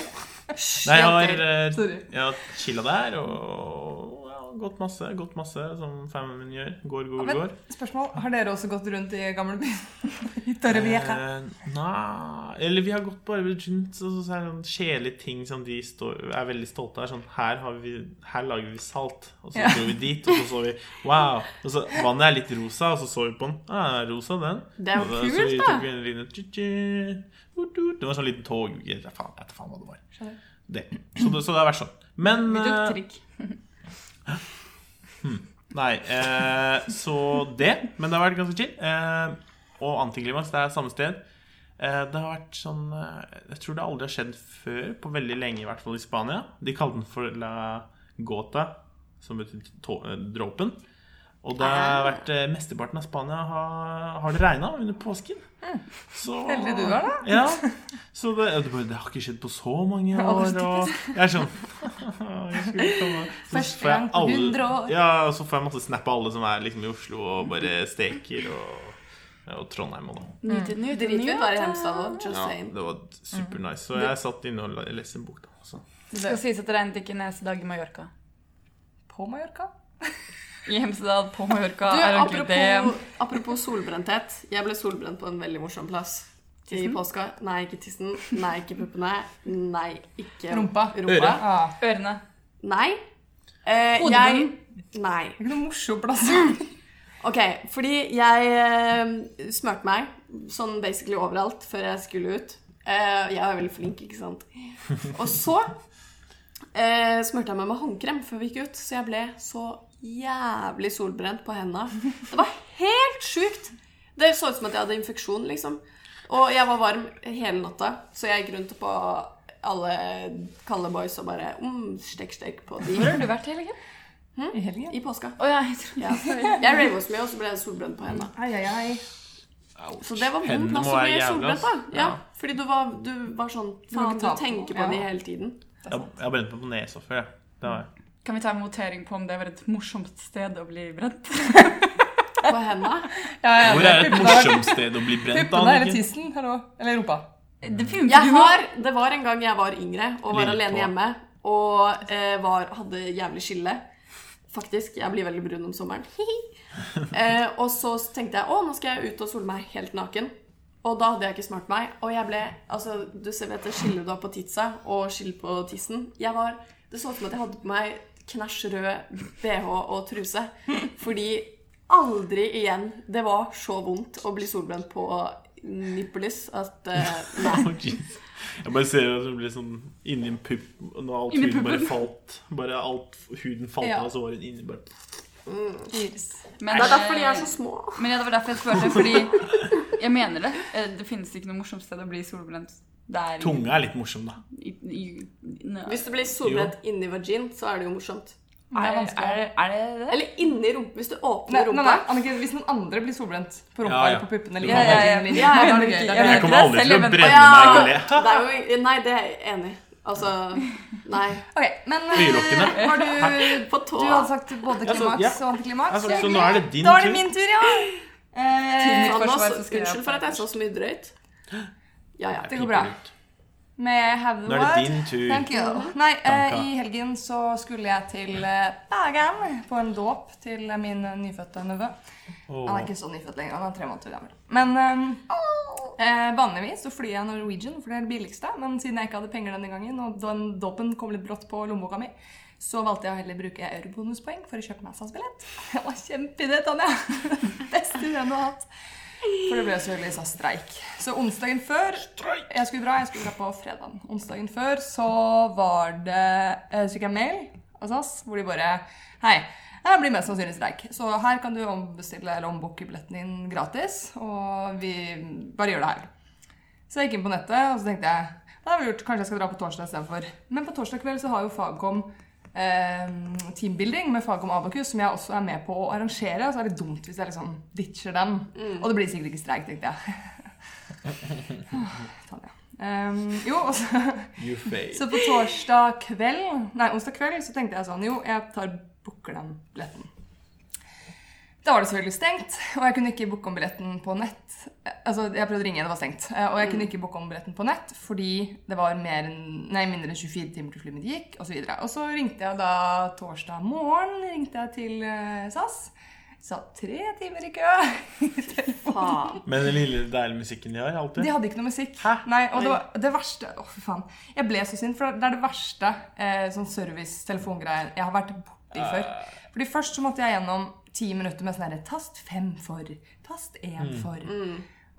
S1: Nei, jeg har, eh,
S3: Sorry.
S1: jeg har chilla der og ja, gått masse, gått masse, som femmen min gjør. Går, går,
S3: men-
S1: går.
S3: Spørsmål. Har dere også gått rundt i gamlebyen? I Torrevieja.
S1: Eh, nei Eller vi har gått bare rundt så, så, så er det sånn kjedelige ting som de står, er veldig stolte av. Sånn, her, har vi, her lager vi salt, og så
S3: Ja.
S1: dro vi dit, og så så vi Wow! Og så Vannet er litt rosa, og så så vi på den. Ah, rosa, den.
S5: Det er
S1: Og
S5: jo
S1: så vi
S5: kult,
S1: tok
S5: da.
S1: en liten tju-tju, ut-ut. Det var sånn liten tog Jeg vet faen, jeg vet faen hva det var.
S3: Skjønner.
S1: Det. Så, det. så det har vært sånn. Men
S4: Vi tok
S1: eh,
S4: trikk.
S1: Nei, eh, så det. Men det har vært ganske chill. Eh, og antiklimaks, det er samme sted. Eh, det har vært sånn eh, Jeg tror det aldri har skjedd før, på veldig lenge, i hvert fall i Spania. De kalte den for la gota, som betyr tå- eh, dråpen. Og det har
S3: Ah.
S1: vært eh, mesteparten av Spania har, har det regna under påsken. Så,
S3: Hm. Heldig du er, da.
S1: Ja. Så det, det, bare, det har ikke skjedd på så mange
S3: Ja,
S1: år.
S3: det er
S1: Og jeg er sånn jeg skulle komme. Så
S3: Første
S1: får jeg
S3: gang på
S1: alle-
S3: 100 år.
S1: Ja, og så får jeg masse snap av alle som er liksom i Oslo og bare steker og, og Trondheim og da.
S4: Nyt, nyt,
S5: Dritfett å være i Hemsedal òg. Just
S1: Ja,
S5: saying.
S1: det var super
S5: Mm.
S1: nice. Så jeg satt inne og la- leste en bok, da. Så.
S4: Det skal sies at det regnet ikke en eneste dag i Mallorca.
S3: På Mallorca?
S4: I Hemsedal, på Mallorca,
S5: Du,
S4: er ordentlig det.
S5: apropos, apropos solbrenthet. Jeg ble solbrent på en veldig morsom plass. I påska. Nei, ikke tissen. Nei, ikke puppene. Nei, ikke
S3: Rumpa.
S5: Rumpa.
S3: Ah,
S4: Ørene.
S5: Nei. Eh, jeg
S4: Hodebunnen.
S5: Nei.
S3: det er ikke noe morsom plass.
S5: Ok, fordi jeg eh, smørte meg sånn basically overalt før jeg skulle ut. Eh, jeg er veldig flink, ikke sant? Og så eh, smørte jeg meg med håndkrem før vi gikk ut, så jeg ble så jævlig solbrent på henda. Det var helt sjukt! Det så ut som at jeg hadde infeksjon, liksom. Og jeg var varm hele natta, så jeg gikk rundt på alle kalde boys og bare mm, stek, stek på de
S4: Hvor har du vært i helgen?
S3: Hm? I helgen.
S5: i påska.
S4: Å ja, jeg tror
S5: Ja. Jeg rave så mye, og så ble jeg solbrent på henda.
S3: Ai, ai, ai.
S5: Så det var vondt
S1: Hendene
S5: altså,
S1: må være
S5: med
S1: jævlig,
S5: solbrent,
S1: ass.
S5: da. Ja,
S1: Ja.
S5: fordi du var, du var sånn
S3: må
S5: Faen,
S3: ikke
S5: du
S3: ta på
S5: tenker
S3: noe.
S5: på det
S3: Ja.
S5: hele tiden.
S1: Jeg, jeg har brent meg på nesa før, jeg. Det har jeg.
S4: Kan vi ta en votering på om det var et morsomt sted å bli brent?
S5: På henda.
S1: Hvor er et morsomt sted å bli brent, da?
S3: Puppene eller
S1: Anniken?
S3: tissen? Hallo. Eller rumpa.
S4: Det pumper
S5: Jeg
S4: du har
S5: har, det var en gang jeg var yngre og var
S1: Lille tå.
S5: alene hjemme. Og eh, var, hadde jævlig skille. Faktisk. Jeg blir veldig brun om sommeren. eh, og så tenkte jeg å, nå skal jeg ut og sole meg helt naken. Og da hadde jeg ikke smurt meg. Og jeg ble altså, Du ser vet det skillet du har på titsa, og skill på tissen. Jeg var, Det så ut som at jeg hadde på meg knæsj rød bh og truse. Fordi aldri igjen Det var så vondt å bli solbrent på nippelis at eh, Nei.
S1: Å, jeez. Jeg bare ser at du blir sånn inni en pupp, og da alt
S4: Inni
S1: huden bare
S4: puppen.
S1: falt. Bare alt huden falt
S5: Ja.
S1: av såret inni bare
S4: Men,
S5: Det er derfor de er så små.
S4: Men ja, det var derfor jeg spurte, fordi jeg mener det. Eh, Det finnes ikke noe morsomt sted å bli solbrent. Det er
S1: Tunga er litt morsom, da.
S4: I, i, nø.
S5: Hvis du blir solbrent inni vagin, så er det jo morsomt.
S3: Det er
S4: er,
S3: vanskelig.
S4: er, er det det?
S5: Eller inni rumpa. Hvis du
S3: Nei,
S5: åpner
S3: nei,
S5: rumpa.
S3: nei, Anniken, hvis noen andre blir solbrent på rumpa
S1: Ja, ja.
S3: eller på puppene eller
S1: Ja,
S3: på
S1: ja,
S4: ja.
S3: vaginaen,
S5: Ja, jeg
S3: eller-
S5: mener
S3: eller-
S5: ikke- jeg
S1: Jeg
S4: mener-
S3: eller-
S1: kommer
S4: det er
S1: aldri til å
S4: selv-
S5: Å,
S1: brenne meg
S5: ja.
S1: av det.
S5: Det er jo, nei, det er jeg enig i. Altså Nei.
S3: Ok, men eh,
S1: Øyelokkene.
S3: har du
S5: På tå.
S3: Du altså- hadde sagt både
S1: Jeg sa-
S3: klimaks
S1: ja.
S3: og antiklimaks.
S1: Altså, så nå er det din
S3: Da er det
S1: tur.
S3: min tur, ja! Eh,
S5: Faen,
S4: forsvar
S5: altså,
S4: så skal jeg
S5: Unnskyld for at jeg så så mye drøyt. Ja, ja.
S3: det går bra. May I have the
S1: Nå er det
S3: word?
S1: din tur.
S3: Thank you. Nei, eh,
S1: Danka.
S3: i helgen så skulle jeg til eh, Bergen på en dåp til min nyfødte nevø. Han er
S1: Åh.
S3: ikke så nyfødt lenger, han er tre måneder gammel. Men
S2: 哦
S3: eh, eh, vanligvis så flyr jeg Norwegian, for det er det billigste. Men siden jeg ikke hadde penger denne gangen, og den dåpen kom litt brått på lommeboka mi, så valgte jeg å heller bruke eurobonuspoeng for å kjøpe meg SAS-billett. Det var kjempeidé, Tanja! Beste ideen du har hatt. For det ble jo selvfølgelig SAS-streik. Så onsdagen før jeg skulle dra, jeg skulle dra på fredagen. Onsdagen før så var det eh, så fikk jeg mail av SAS hvor de bare Hei, det blir mest sannsynlig streik, så her kan du ombestille eller ombooke billetten din gratis. Og vi bare gjør det her. Så jeg gikk inn på nettet, og så tenkte jeg da var det lurt, kanskje jeg skal dra på torsdag istedenfor. Men på torsdag kveld så har jo Fagkom eh, teambuilding med Fagkom Abakus, som jeg også er med på å arrangere. Så er det dumt hvis jeg liksom ditcher den. Og det blir sikkert ikke streik, tenkte jeg. Tanja. Um, jo, og så,
S1: You fail.
S3: så på torsdag kveld Nei, onsdag kveld så tenkte jeg sånn Jo, jeg tar booker den billetten. Da var det selvfølgelig stengt, og jeg kunne ikke booke om billetten på nett. Eh, Altså, jeg prøvde å ringe, det var stengt. Eh, Og jeg kunne ikke booke om billetten på nett fordi det var mer enn, nei, mindre enn 24 timer til flyet mitt gikk, osv. Og, så videre. og så ringte jeg da torsdag morgen ringte jeg til eh, SAS. Satt tre timer i kø.
S5: Faen.
S1: Men den lille deilige musikken de har, alltid.
S3: De hadde ikke noe musikk.
S1: Hæ?
S3: Nei, og det, var, det verste Å, fy faen. Jeg ble så sint, for det er det verste eh, sånn servicetelefongreien jeg har vært borti før. Fordi først så måtte jeg gjennom ti minutter med sånn herre Tast fem for. Tast én for.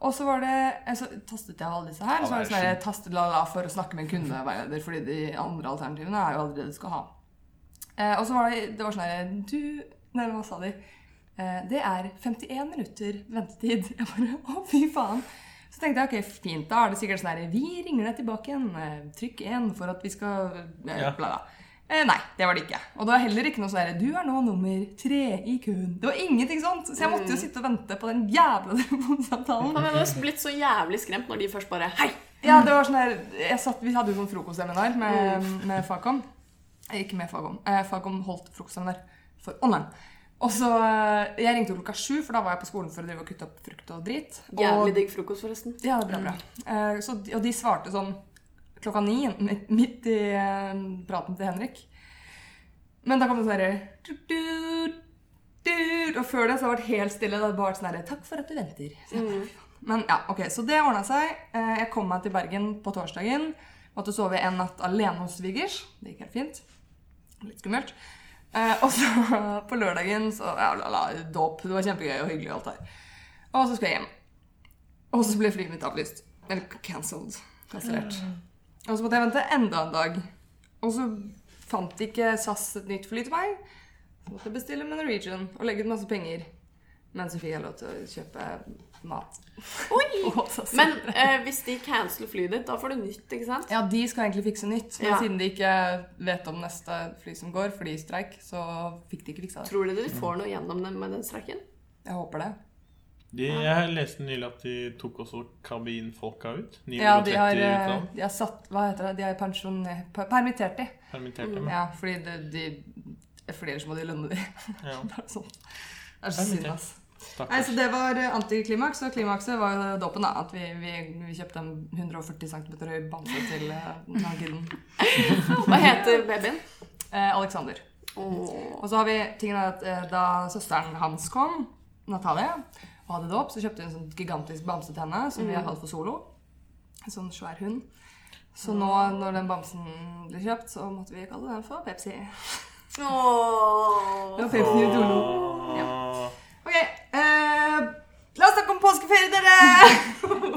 S3: Og så var det eh, Så tastet jeg alle disse her. Og så var det sånn herre Tast la-la for å snakke med en kundeveileder, fordi de andre alternativene er jo aldri det du skal ha. Eh, og så var det, det var sånn herre Du Nei, hva sa de? Eh, det er 51 minutter ventetid. Jeg bare Å, fy faen. Så tenkte jeg ok, fint, da er det sikkert sånn herre Vi ringer deg tilbake igjen. eh, Trykk 1 for at vi skal eh,
S1: Ja.
S3: bla, bla. Eh, nei, det var det ikke. Og det var heller ikke noe sånn herre Du er nå nummer tre i køen. Det var ingenting sånt. Så jeg måtte jo sitte og vente på den jævla telefonsamtalen.
S5: Men jeg var blitt så jævlig skremt når de først bare Hei!
S3: Ja, det var sånn her jeg satt, Vi hadde jo sånn frokostseminar med, med Fagkom. Eh, Ikke med Fagkom. Eh, Fagkom holdt frokostseminar for online. Og så, eh, Jeg ringte jo klokka sju, for da var jeg på skolen for å drive og kutte opp frukt og drit. Og,
S5: Jævlig digg frokost, forresten.
S3: ja, bra, bra. Eh, så, de- og de svarte sånn klokka ni, midt, midt i eh, praten til Henrik. Men da kom det sånn herre du, du, du, Og før det så har det vært helt stille. Det har bare vært sånn herre Takk for at du venter. Så jeg, bare, "Fy faen." Men ja, ok, Så det ordna seg. Eh, jeg kom meg til Bergen på torsdagen. Måtte sove en natt alene hos svigers. Det gikk helt fint. Litt skummelt. Eh, og så på lørdagen så ja, la, la, dåp. Det var kjempegøy og hyggelig og alt der. Og så skulle jeg hjem. Og så ble flyet mitt avlyst. Eller cancelled. Kansellert. Og så måtte jeg vente enda en dag. Og så fant ikke SAS et nytt fly til meg. Så måtte jeg bestille med Norwegian og legge ut masse penger. Men så fikk jeg lov til å kjøpe mat. Og SAS.
S5: Men eh, hvis de canceler flyet ditt, da får du nytt, ikke sant?
S3: Ja, de skal egentlig fikse nytt, men
S5: Ja.
S3: siden de ikke vet om neste fly som går fordi streik, så fikk de ikke fiksa det.
S5: Tror dere de får noe gjennom den med den streiken?
S3: Jeg håper det.
S1: De, jeg leste nylig at de tok også kabinfolka ut. 930
S3: Ja, de har, eh,
S1: utenland.
S3: de har satt Hva heter det? De har pensjoner... per- Permittert de.
S1: Permitterte dem.
S3: Mm, Ja, fordi de, de Fordi ellers må de lønne de.
S1: Ja.
S3: Det er sånn. Det er så synd, ass. Nei,
S1: Stakkars.
S3: så det var eh, antiklimaks, og klimakset var jo dåpen, da. At vi, vi, vi kjøpte en 140 cm høy bamse til eh, denne kiden.
S5: Hva heter babyen?
S3: Eh, Alexander.
S5: Åh.
S3: Og så har vi tingen er at eh, da søsteren hans kom, Natalia, og hadde dåp, så kjøpte hun en sånn gigantisk bamse til henne, som vi
S4: Mm.
S3: har kalt for Solo. En sånn svær hund.
S4: Mm.
S3: Så nå når den bamsen ble kjøpt, så måtte vi kalle den for Pepsi. Det
S5: Åh.
S3: var Pepsi Utolo. Ok, eh, la oss snakke om påskeferie, dere!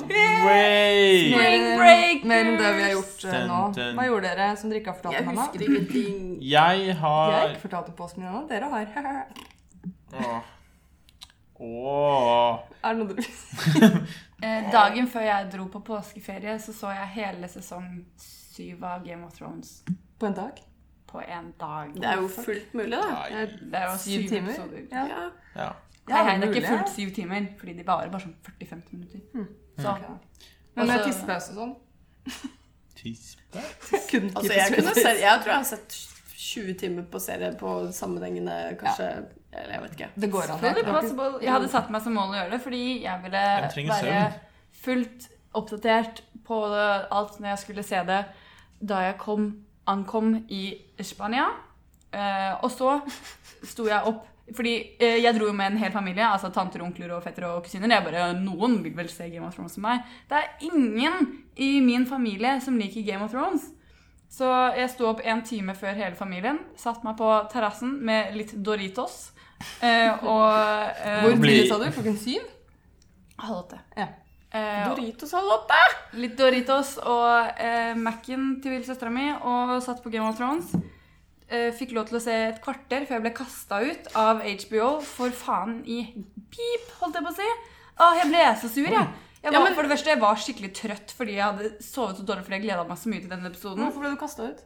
S1: Way!
S4: Spring breakers!
S3: Mer om det vi har gjort eh, nå.
S1: Dun, dun.
S3: Hva gjorde dere som dere ikke har fortalt
S5: Jeg
S3: om ennå?
S5: husker ingenting.
S1: Jeg
S3: Jeg har
S1: har
S3: ikke fortalt om påsken min ennå. Dere har.
S1: Åh. Åh.
S3: er det noe dere vil si?
S4: Eh, Dagen før jeg dro på påskeferie, så så jeg hele sesong syv av Game of Thrones
S3: På en dag?
S4: på én dag.
S5: Det er jo fullt mulig, da.
S1: Nei.
S4: Det er jo
S3: Syv
S4: syv
S3: timer?
S4: episoder.
S3: Ja.
S5: Ja.
S1: Ja.
S4: Nei, nei, det er
S3: mulig,
S4: ikke
S3: ja. Hmm.
S4: fullt syv timer, fordi de varer bare sånn 40-50 minutter. Så
S3: Men med
S4: Altså-
S3: tissepause og sånn?
S1: Tispe?
S3: Kunne
S5: Altså, jeg, kunne sett, jeg tror jeg har sett 20 timer på serie på sammenhengende, kanskje. Eller jeg vet ikke.
S3: Det går an.
S4: Totally
S3: jeg tror ikke.
S4: possible. Jeg hadde satt meg som mål å gjøre det, fordi jeg ville
S1: Jeg trenger
S4: være
S1: søvn.
S4: fullt oppdatert på alt når jeg skulle se det da jeg kom, ankom i Spania. Eh, og så sto jeg opp Fordi eh, jeg dro jo med en hel familie, altså tanter, onkler og fettere og kusiner. Jeg bare, Noen vil vel se Game of Thrones som meg. Det er ingen i min familie som liker Game of Thrones. Så jeg sto opp en time før hele familien, satt meg på terrassen med litt Doritos. eh, og eh,
S3: Hvor
S1: Bli-
S3: tidlig sa du? Klokken syv?
S4: Halv åtte.
S3: Ja.
S4: Eh, og
S5: Doritos har låta!
S4: litt Doritos og eh, Mac-en til søstera mi, og satt på Game of Thrones. Eh, fikk lov til å se et kvarter før jeg ble kasta ut av HBO for faen i pip, holdt jeg på å si. Åh, jeg ble så sur, jeg. jeg var,
S5: Ja, men-
S4: for det første, jeg var skikkelig trøtt fordi jeg hadde sovet så dårlig fordi jeg gleda meg så mye til denne episoden.
S5: Hvorfor ble du kasta ut?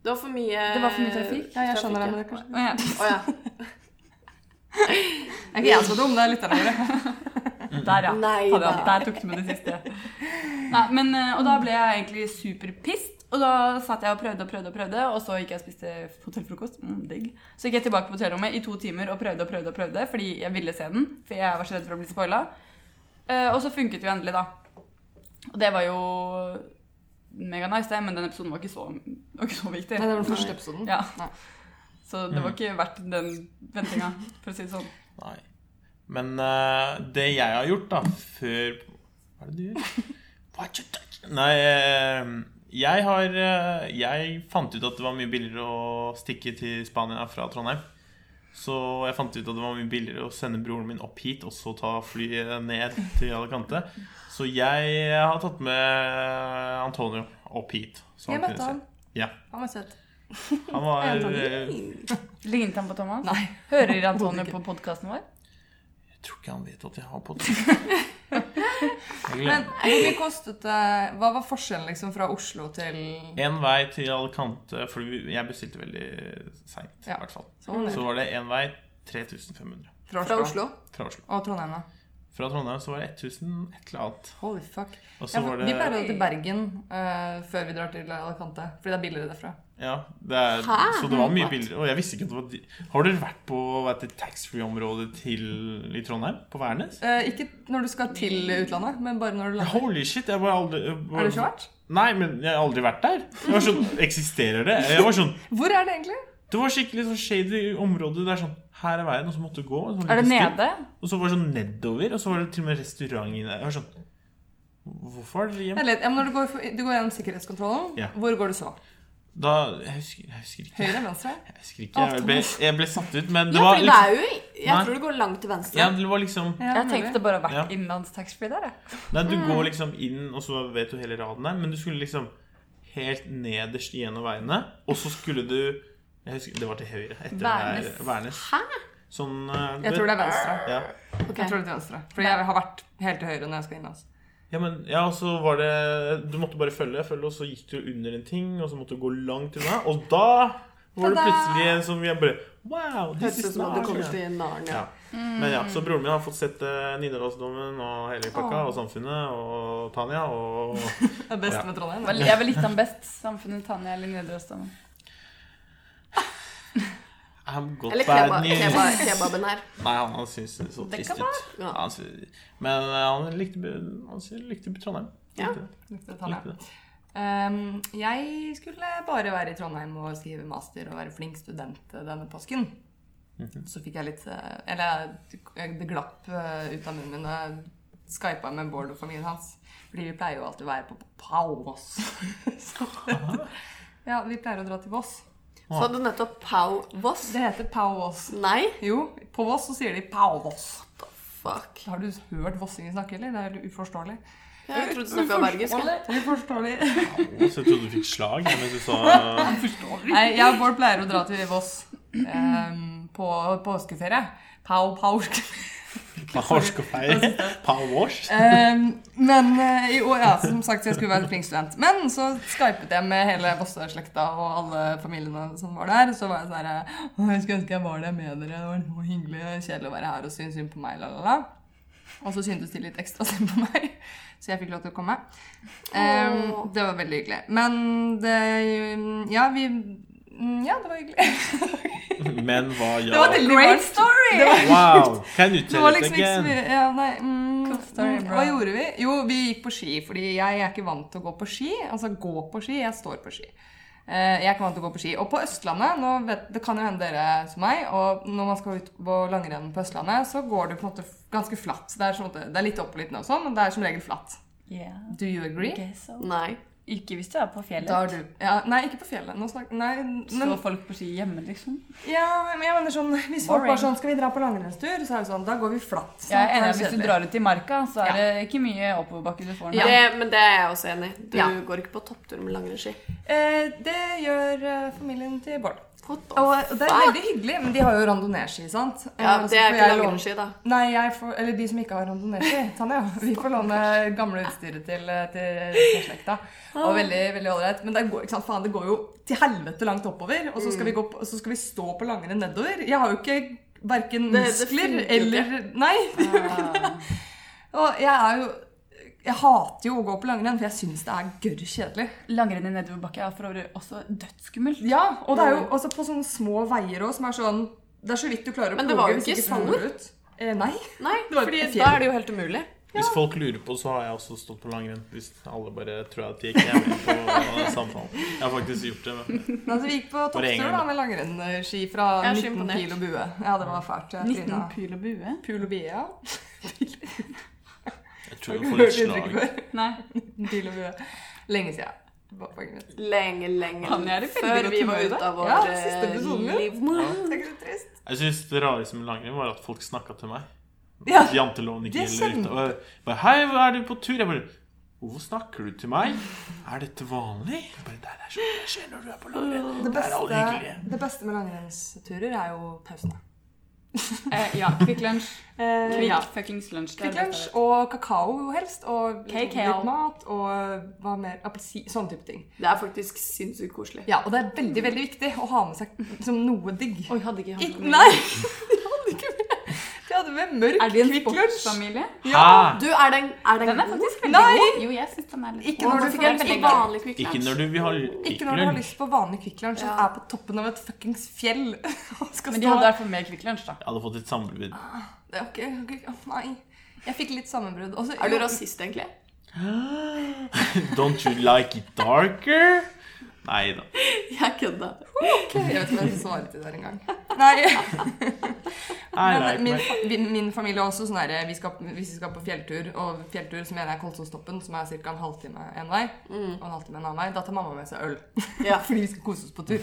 S5: Det var for mye
S4: Det var for mye trafikk.
S3: Ja, jeg skjønner det. men
S5: trafikk,
S3: det er kanskje-
S4: Og jeg,
S5: ja. Å ja.
S3: Jeg er ikke jeg så dum, det er lytterne våre.
S4: Der, ja.
S5: Nei
S4: Fader,
S5: da.
S4: Der tok du med det siste. Nei, men, eh, og da ble jeg egentlig superpissed. Og da satt jeg og prøvde og prøvde, og prøvde, og så gikk jeg og spiste hotellfrokost. Mm, digg. Så gikk jeg tilbake på hotellrommet i to timer og prøvde og prøvde, og prøvde, fordi jeg ville se den. For jeg var så redd for å bli spoila. Eh, og så funket det jo endelig, da. Og det var jo mega nice, det, men den episoden var ikke så, var ikke så viktig.
S3: Nei, det var den første episoden.
S4: Ja.
S3: Nei.
S4: Så det var ikke verdt den ventinga, for å si det sånn.
S1: Nei. Men eh, det jeg har gjort, da, før Hva er det du gjør? What you touch? Nei, eh, jeg har eh, Jeg fant ut at det var mye billigere å stikke til Spania fra Trondheim. Så jeg fant ut at det var mye billigere å sende broren min opp hit og så ta flyet ned til Alicante. Så jeg har tatt med eh, Antonio opp hit. så
S3: Jeg
S1: kunne
S3: møtte
S1: se.
S3: han.
S1: Ja.
S3: Han var søt.
S1: Han var
S3: Antonio.
S1: eh,
S4: Lignet han på Thomas?
S3: Nei.
S4: Hører Antonio på podkasten vår?
S1: Jeg tror ikke han vet at jeg har på Jeg
S3: Men eh,
S1: glemmer.
S3: hvor mye kostet det Hva var forskjellen liksom fra Oslo til
S1: En vei til Alicante, for vi- jeg bestilte veldig seint. i
S3: Ja.
S1: hvert fall.
S3: Så var det
S1: Så var det én vei 3500
S3: Sånn, fra
S5: Fra Oslo?
S1: fra Oslo.
S3: Og Trondheim, da.
S1: Fra Trondheim så var det 1000 et eller annet.
S3: Holy fuck.
S1: Og så
S3: Ja, for
S1: var
S3: vi pleier
S1: det
S3: å dra til Bergen eh, før vi drar til Alicante, fordi det er billigere derfra.
S1: Ja, det er,
S5: Hæ?
S1: så det var mye
S5: What?
S1: billigere. Og jeg visste ikke at det var de- Har dere vært på hva heter det, taxfree-området til i Trondheim? På Værnes?
S3: Eh, ikke når du skal til utlandet, men bare når du lander.
S1: Holy shit! Jeg var aldri jeg var,
S3: Er det ikke vært?
S1: Nei, men jeg har aldri vært der. Jeg var sånn, Eksisterer det? Jeg var sånn
S3: Hvor er det egentlig?
S1: Det var skikkelig sånn shady område. Det er sånn Her er veien, og så måtte du gå. Sånn og så var
S4: Er det
S1: litt stille.
S4: nede?
S1: Og så var det sånn nedover, og så var det til og med restaurant inne der. Jeg var sånn Hvorfor er dere
S3: Jeg
S1: hjemme?
S3: vet, ja, men når du går, for- du går gjennom sikkerhetskontrollen,
S1: Ja.
S3: hvor går du så?
S1: Da Jeg husker, jeg husker ikke.
S3: Høyre, venstre?
S1: Jeg husker ikke. Jeg ble, jeg ble satt ut, men det
S5: Ja,
S1: var
S5: for det
S1: liksom
S5: er jo Jeg
S1: Nei.
S5: tror det går langt til venstre.
S1: ja, det var liksom
S3: Ja,
S4: Jeg tenkte det bare har
S1: Ja.
S4: vært innenlands taxfree der, jeg.
S1: Nei, du
S5: Mm.
S1: går liksom inn, og så vet du hele raden der, men du skulle liksom helt nederst i en av veiene, og så skulle du jeg husker, Det var til høyre. Etter Værnes.
S4: Værnes.
S1: Værnes.
S5: Hæ?
S1: Sånn eh, du
S3: Jeg tror det
S1: vet-
S3: er venstre.
S1: Ja.
S3: Jeg
S5: Ok.
S3: tror det er til venstre. Fordi jeg har vært helt til høyre når jeg skal altså. innlands.
S1: ja, men Ja, og så var det Du måtte bare følge, følge, og så gikk du under en ting, og så måtte du gå langt unna, og da var det
S3: Ta-da!
S1: plutselig en som jeg bare Wow!
S5: Høres
S1: This
S5: ut
S1: is
S5: som at du kommer
S1: Narnia.
S5: til Narnia.
S1: Ja. Men ja, så broren min har fått sett eh, Nidarosdomen og hele pakka og Samfunnet og Tanja og
S3: Det er best med Trondheim.
S4: Vel, Jeg vil litt han best. Samfunnet Tanja eller Nidarosdomen.
S1: I'm got
S5: Eller
S1: bad
S5: kebab,
S1: news.
S5: kebab, kebaben her.
S1: Nei, han, han syns det så
S4: Det
S1: trist
S4: kan
S1: ut.
S4: være.
S1: Ja. Han sy- men eh, han likte, bu- han sy- likte bu- Trondheim.
S5: Ja.
S1: Likte det,
S3: Likte Trondheim.
S1: likte det.
S3: Ehm, jeg skulle bare være i Trondheim og skrive master og være flink student denne påsken. Så fikk jeg litt eh, Eller jeg- det glapp eh, ut av munnen min da jeg skypa med Bård og familien hans. Fordi vi pleier jo alltid å være på Paus. Så- ja, vi pleier å dra til Voss.
S5: Sa du nettopp Pau Voss?
S3: Det heter Pauvoss.
S5: Nei?
S3: Jo, på Voss så sier de Pauvoss.
S5: Fuck.
S3: Har du hørt vossinger snakke, eller? Det er helt uforståelig.
S5: Jeg trodde du snakka bergensk. jeg.
S3: Uforståelig.
S1: Og Så jeg trodde du fikk slag ja, mens du sa
S3: Nei, jeg og Bård pleier å dra til Voss ehm, på påskeferie. Pau, pau.
S1: Pahorsk og feil. Pahorsk.
S3: Ehm, men eh, i år, ja, som sagt, jeg skulle være flink student. Men så skypet jeg med hele Vosse-slekta og alle familiene som var der. Så var jeg sånn herre «Åh, Jeg skulle ønske jeg var der med dere. Det var så hyggelig. Kjedelig å være her og synes synd på meg, la, la, la. Og så syntes de litt ekstra synd på meg, så jeg fikk lov til å komme. Ehm,
S5: Åh.
S3: det var veldig hyggelig. Men det Ja, vi mm, Ja, det var hyggelig.
S1: Men hva
S3: Det var
S1: gjør
S3: veldig Great story! Det var,
S1: Wow! Can you
S3: det
S1: tell
S3: var
S1: it
S3: liksom ikke så
S1: again?
S3: mye ja, nei, mm,
S4: Cool story,
S3: mm,
S4: bro.
S3: Hva gjorde vi? Jo, vi gikk på ski, fordi jeg er ikke vant til å gå på ski. Altså gå på ski, jeg står på ski. Eh, Jeg er ikke vant til å gå på ski. Og på Østlandet, nå vet, det kan jo hende dere som meg, og når man skal ut på langrenn på Østlandet, så går det på en måte ganske flatt. Det er, sånn at det- det er litt opp og litt ned og sånn, men det er som regel flatt.
S4: Yeah.
S3: Do you agree?
S4: Guess so.
S5: Nei.
S4: Ikke hvis du er på fjellet.
S3: Da er du ja, Nei, ikke på fjellet. Nå snak, nei, men,
S4: Står folk på ski hjemme, liksom?
S3: ja, men jeg mener sånn Hvis folk
S4: Boring.
S3: bare sånn Skal vi dra på langrennstur? Så er det sånn Da går vi flatt.
S4: Jeg er
S3: Så
S4: enig
S3: er
S4: i at Hvis du
S3: kjedelig.
S4: drar ut i marka, så er
S3: Ja.
S4: det ikke mye oppoverbakke du får. nå.
S5: Det, men det er jeg også enig i. Du
S3: Ja.
S5: går ikke på topptur med langrennsski.
S3: Eh, det gjør eh, familien til Bård.
S5: What the
S3: Og det er
S5: fuck?
S3: veldig hyggelig, men de har jo randonee-ski, sant? Eh,
S5: Ja,
S3: så
S5: det er
S3: får
S5: ikke
S3: jeg låne-
S5: langrennsski, da.
S3: Nei, jeg får, eller de som ikke har randonee-ski. Tanja, vi får låne gamle utstyret til, eh, til resten av slekta. Og veldig, veldig ålreit. Men det går, ikke sant? Faen, det går jo til helvete langt oppover, og så skal vi,
S5: Mm.
S3: gå på, så skal vi stå på langrenn nedover. Jeg har jo ikke verken
S5: det
S3: muskler
S5: funker jo
S3: eller Nei. og jeg er jo Jeg hater jo å gå på langrenn, for jeg syns det er gørr kjedelig.
S4: Langrenn i nedoverbakke er for øvrig også dødsskummelt.
S3: Ja, og det er jo
S5: Mm.
S3: også på sånne små veier også, som er sånn Det er så vidt du klarer å
S5: Men det var jo
S3: ploge hvis
S5: ikke
S3: du slår
S5: sand.
S3: ut. Eh, nei.
S5: Nei,
S3: Det var
S5: fordi
S3: et fjell.
S5: da er det jo helt umulig.
S1: Hvis folk lurer på, så har jeg også stått på langrenn. Hvis alle bare tror at jeg ikke er med på samtalen. Jeg har faktisk gjort det. Men
S3: Men altså, vi gikk på
S1: Bare en
S3: topptur
S1: gang.
S3: da med langrennsski fra
S5: Jeg er
S3: 19
S5: så imponert.
S3: pil og bue. Ja, det var fælt. Jeg
S4: 19
S3: tryna.
S4: pil og bue?
S3: Pul og bie, ja.
S1: jeg tror jeg
S3: Har du
S1: får
S3: hørt
S1: litt slag.
S3: uttrykket før?
S4: Nei.
S3: Pil og bue. Lenge siden. Det var poenget mitt.
S5: Lenge, lenge
S4: Han er i veldig
S5: før
S4: godt
S5: vi var
S4: humør i
S5: ute
S4: dag.
S5: av vår
S3: Ja, siste
S5: eh,
S3: episoden, ja.
S5: livmor.
S3: Det er ikke så trist.
S1: Jeg syns det rareste med langrenn var at folk snakka til meg.
S3: Ja.
S1: Janteloven ikke
S3: Det
S1: gjelder
S3: kjente-
S1: ute. Og jeg bare, Hei, hva er du på tur? Jeg bare Hvorfor snakker du til meg? Er dette vanlig? Jeg bare, det er sånn det skjer når du er på langrenn.
S3: Det
S1: Det er alle
S3: beste,
S1: hyggelige.
S3: det beste med langrennsturer er jo pausene.
S4: Eh, ja. Kvikk lunsj.
S3: Eh,
S4: Kvikk
S3: ja.
S4: fuckings lunsj. det er
S3: Kvikk
S4: det
S3: lunsj
S4: beste
S3: og kakao helst, og litt
S4: Kakao.
S3: mat og eh, hva mer, appelsin, sånne type ting.
S5: Det er faktisk sinnssykt koselig.
S3: Ja, og det er veldig, veldig viktig å ha med seg som noe digg.
S4: jeg vet. Oi, hadde ikke
S3: Ik
S4: han noe
S3: nei! De hadde ikke med De hadde med mørk
S4: Er de en
S3: Kvikk Lunsj.
S4: sportsfamilie?
S1: Hæ?
S5: Du, er den, er den,
S4: Den er faktisk veldig
S3: Nei!
S4: god. Jo, jeg synes den er litt
S3: Ikke
S4: god.
S3: når
S5: Nå
S3: du
S5: fikk
S3: får
S5: jeg
S3: veldig
S5: en vanlig Quick
S1: Ikke
S5: Lunch.
S1: når du vil ha
S3: Ikke når du har
S1: kvikklunsj.
S3: lyst på vanlig Kvikk Lunsj, som
S5: Ja.
S3: er på toppen av et fuckings fjell. og skal
S4: Men de
S3: stå-
S4: hadde i hvert fall mer Kvikk lunsj, da.
S1: Jeg hadde fått et samlebrudd.
S3: Det er ikke- ikke- å, Nei. Jeg fikk litt sammenbrudd. Og så-
S5: Er du
S3: jo,
S5: rasist, egentlig?
S1: Don't you like it darker? Nei da.
S5: Jeg kødda.
S3: Jeg vet ikke hva jeg skal svare til der engang. Nei.
S1: Nei, nei,
S3: Men min,
S1: men-
S3: fa- min- min familie er også sånn her vi skal, Hvis vi skal på fjelltur, og fjelltur så mener jeg Kolsåstoppen, som er ca. en halvtime en vei, og en halvtime en annen vei, da tar mamma med seg øl.
S5: Ja.
S3: Fordi vi skal kose oss på tur.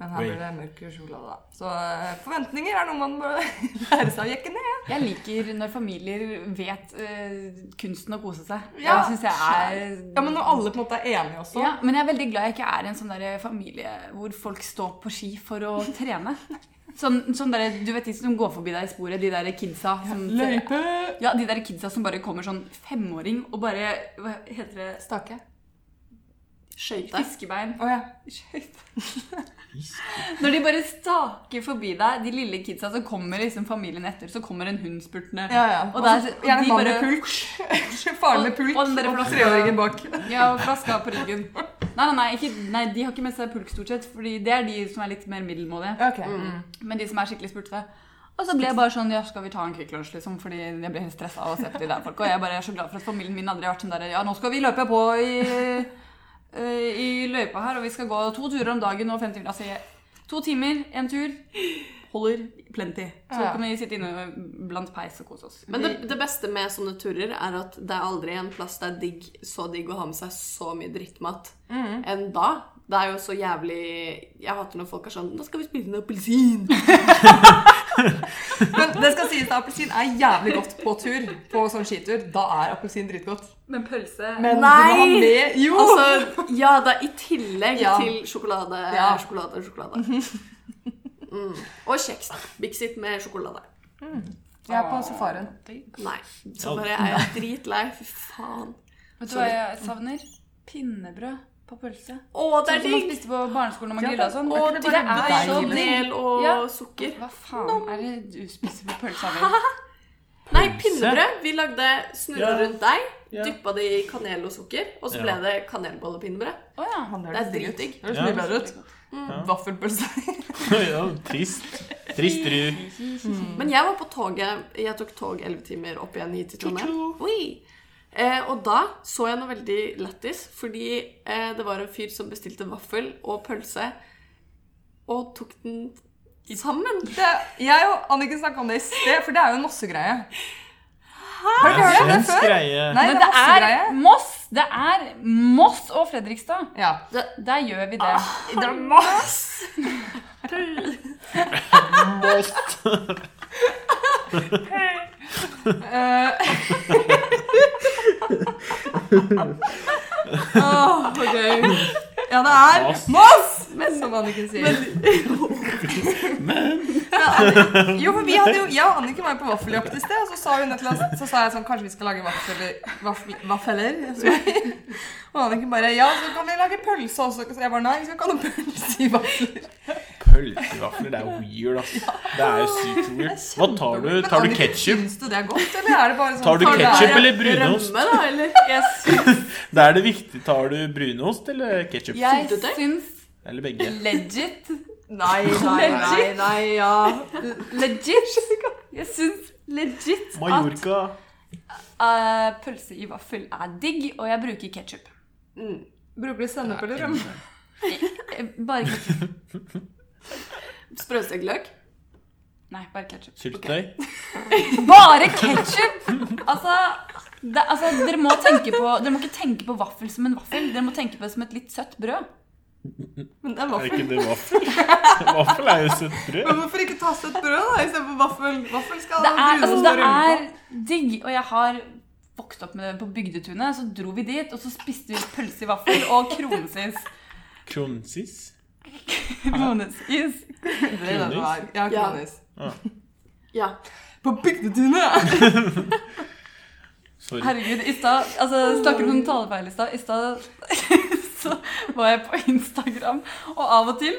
S3: Men her
S1: Oi.
S3: blir det mørk sjokolade. da. Så eh, forventninger er noe man bør lære seg å jekke ned.
S4: Jeg liker når familier vet eh, kunsten å kose seg.
S3: Ja.
S4: Det syns jeg er
S3: Ja, Men når alle på en måte er enige også.
S4: Ja, men jeg er veldig glad jeg ikke er i en sånn der familie hvor folk står på ski for å trene. Sånn, sånn der, du vet de som går forbi deg i sporet, de der kidsa som
S3: Løype!
S4: Ja, de der kidsa som bare kommer sånn femåring og bare Hva heter det?
S3: Stake.
S5: Skøyte.
S4: Fiskebein.
S3: Å ja.
S4: Når de bare staker forbi deg, de lille kidsa, så kommer liksom familien etter. Så kommer en hund spurtende.
S3: ja, ja.
S4: Og der-
S3: så gjerne
S4: de
S3: mann med
S4: bare-
S3: pulk. Faren med
S4: Og-
S3: pulk
S4: og den der flaska-
S3: treåringen bak.
S4: Ja, og flaska på ryggen. Nei, nei, nei, ikke, nei, de har ikke med seg pulk stort sett, Fordi det er de som er litt mer middelmådige.
S3: Ok.
S4: Men de som er skikkelig spurte. Og så ble jeg bare sånn Ja, skal vi ta en Quick Lunch, liksom? Fordi jeg ble stressa av å se på de der folka. Og jeg bare er så glad for at familien min aldri har vært sånn der Ja, nå skal vi løpe på i, eh, i løypa her, og vi skal gå to turer om dagen og 50 Altså, jeg, to timer, én tur holder plenty. Så
S3: Ja.
S4: kan vi sitte inne blant peis og kose oss.
S5: Men det, det beste med sånne turer er at det er aldri en plass det er digg, så digg å ha med seg så mye drittmat enn da. Det er jo så jævlig Jeg hater når folk er sånn 'Nå skal vi spise en appelsin'.
S3: Men det skal sies at appelsin er jævlig godt på tur. På sånn skitur. Da er appelsin dritgodt.
S4: Men pølse
S3: Men
S5: Nei!
S3: du må ha med Jo!
S5: Altså, ja da, i tillegg
S3: Ja.
S5: til sjokolade,
S3: Ja.
S5: sjokolade, sjokolade. Mm. Og kjeks. Bixit med sjokolade.
S3: jeg er på safarien.
S5: Nei. Så bare er jeg dritlei. Fy faen.
S4: Vet du hva jeg savner? Pinnebrød på pølse.
S5: Å, det
S4: Sånn
S5: er
S4: som man
S5: digg!
S4: spiste på barneskolen når man
S3: Ja,
S4: grilla og sånn.
S5: Å, det bare
S4: er
S5: er
S4: så
S5: og
S4: digg.
S5: mel og
S4: Ja.
S5: sukker.
S4: liksom? Hva faen er det du spiser på pølsa mi?
S5: Nei, pinnebrød. Vi lagde snurre
S1: Ja.
S5: rundt deig,
S1: Ja.
S5: dyppa det i kanel og sukker, og så
S1: Ja.
S5: ble det kanelbollepinnbrød.
S4: Å ja.
S5: Det er dritdigg.
S3: Det høres
S1: Ja.
S3: mye bedre ut.
S1: Ja.
S3: Vaffelpølse.
S1: ja, trist. Trist ru.
S5: Men jeg var på toget Jeg tok tog 11 timer opp igjen hit til Trondheim. Oi. Eh, og da så jeg noe veldig lættis, fordi eh, det var en fyr som bestilte vaffel og pølse, og tok den sammen.
S3: Det- Jeg og Anniken snakka om det i sted, for det er jo en mossegreie.
S1: Det
S3: Har
S1: er
S3: du hørt
S1: en
S3: det
S1: svensk
S3: før?
S1: greie.
S3: Nei,
S4: Men
S3: det
S4: det
S3: er
S4: er
S3: mossegreie.
S4: Moss! Det er Moss og Fredrikstad.
S3: Ja.
S4: Der gjør vi det.
S3: Ah,
S5: Det er masse!
S3: Eh,
S5: Åh, ok.
S3: ja, det er
S1: Moss.
S3: Moss! Som Anniken sier. Ja, jo, for vi hadde jo, Jeg og Anniken var jo på vaffeljakt i sted, og så sa hun et eller annet, så sa jeg sånn Kanskje vi skal lage vaffeler? Vaffel, vaffeler? sorry. Og Anniken bare Ja, så kan vi lage pølse også. Så jeg bare Nei, vi skal ikke ha noen pølse i vafler.
S1: Pølsevafler, det er weird, ass. Det er jo sykt weird. Hva tar du?
S3: Men
S1: Tar du
S3: Anniken,
S1: ketsjup?
S3: Syns du det er godt, eller er det bare sånn
S1: Tar du
S3: det
S5: ketchup
S1: ketsjup
S3: her-
S1: eller brunost?
S5: Rømme, da, eller?
S1: Det er det viktige. Tar du brunost eller ketsjup?
S4: Jeg
S5: Syltetøy?
S4: syns
S1: Eller begge.
S4: legit
S3: Nei, nei, nei, nei, ja.
S4: Legit! Jeg syns legit at
S1: Mallorca.
S4: eh, pølse i vaffel er digg, og jeg bruker ketsjup.
S3: Bruker du sennep eller rømme?
S4: eh, Bare ketchup.
S5: Sprøstekt løk?
S4: Nei, bare ketchup.
S1: Syltetøy.
S4: Bare ketsjup! Altså, det, altså dere, må tenke på, dere må ikke tenke på vaffel som en vaffel. Dere må tenke på det som et litt søtt brød.
S3: Men det er
S1: Er
S3: vaffel.
S1: ikke det vaffel? Vaffel er jo søtt brød.
S3: Men hvorfor ikke ta søtt brød da, istedenfor vaffel? Vaffel skal
S4: Det er, altså,
S3: brunost
S4: det
S3: og rømme
S4: er digg, og jeg har vokst opp med det på Bygdetunet. Så dro vi dit, og så spiste vi pølse i vaffel og kronesis.
S1: Kronsis.
S4: Kronesis.
S3: på. Det er det det er. Ja,
S5: Ja.
S3: kronis.
S5: Ja.
S3: På bygdetunet!
S1: Sorry.
S4: Herregud, i stad altså, Snakker om talefeil i stad. I stad så var jeg på Instagram, og av og til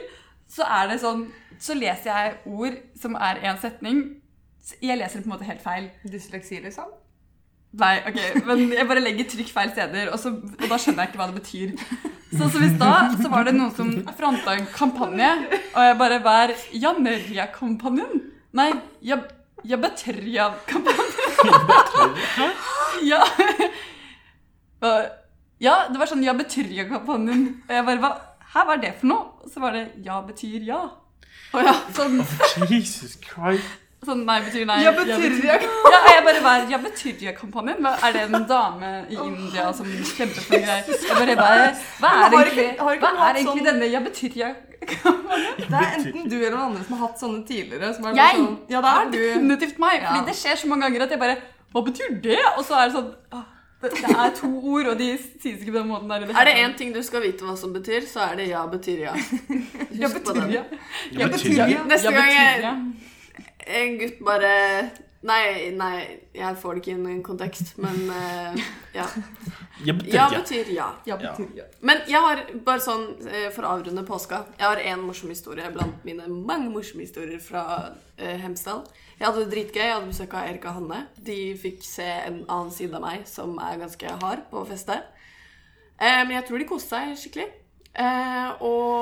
S4: så er det sånn Så leser jeg ord som er én setning. Så Jeg leser det på en måte helt feil.
S3: Dysleksi, liksom?
S4: Nei, ok, men jeg bare legger trykk feil steder, og, så, og da skjønner jeg ikke hva det betyr. Sånn som i stad, så var det noen som fronta en kampanje, og jeg bare var Janørja-kampanjen? Nei, Jab- Jabetørja-kampanjen. Ja. Hva- ja, det var sånn Jabetørja-kampanjen. Og jeg bare hva, Hæ, hva er det for noe? Og så var det Ja betyr ja.
S5: Å ja.
S4: Sånn,
S1: Jesus Christ.
S4: sånn nei betyr nei.
S5: Jeg betyr jeg.
S4: Ja, jeg bare var Jeg betyr-kampanjen. Hva- Er det en dame i India som kjemper for greier? Jeg bare, hva, er-
S3: Men
S4: hva er
S3: har
S4: egentlig,
S3: ikke- har ikke
S4: hva
S3: noen hatt
S4: er egentlig
S3: sånn-
S4: denne Jeg betyr-jeg?
S3: Det er enten du eller noen andre som har hatt sånne tidligere. Som er bare
S4: Jeg?
S3: Sånn, ja, det er du.
S4: Definitivt meg. Fordi
S3: Ja.
S4: det skjer så mange ganger at jeg bare Hva betyr det? Og så er det sånn ah, Det, det er to ord, og de sies ikke på den måten der. i
S5: Er det
S4: hele
S5: én ting du skal vite hva som betyr, så er det ja betyr ja.
S4: tatt. Jeg
S5: Husk på
S4: betyr
S5: den.
S4: jeg.
S1: Jeg betyr
S5: ja. Neste
S4: Jeg
S5: gang
S4: betyr
S5: jeg-
S4: jeg.
S5: En gutt bare Nei, nei, jeg får det ikke inn i en kontekst, men eh, ja.
S1: Jeg betyr
S5: Ja
S1: ja.
S5: betyr ja.
S3: Ja, betyr ja.
S5: Men jeg har bare sånn eh, for å avrunde påska Jeg har én morsom historie blant mine mange morsomme historier fra eh, Hemsedal. Jeg hadde det dritgøy. Jeg hadde besøk av Erik og Hanne. De fikk se en annen side av meg som er ganske hard på feste. Eh, men jeg tror de koste seg skikkelig. Eh,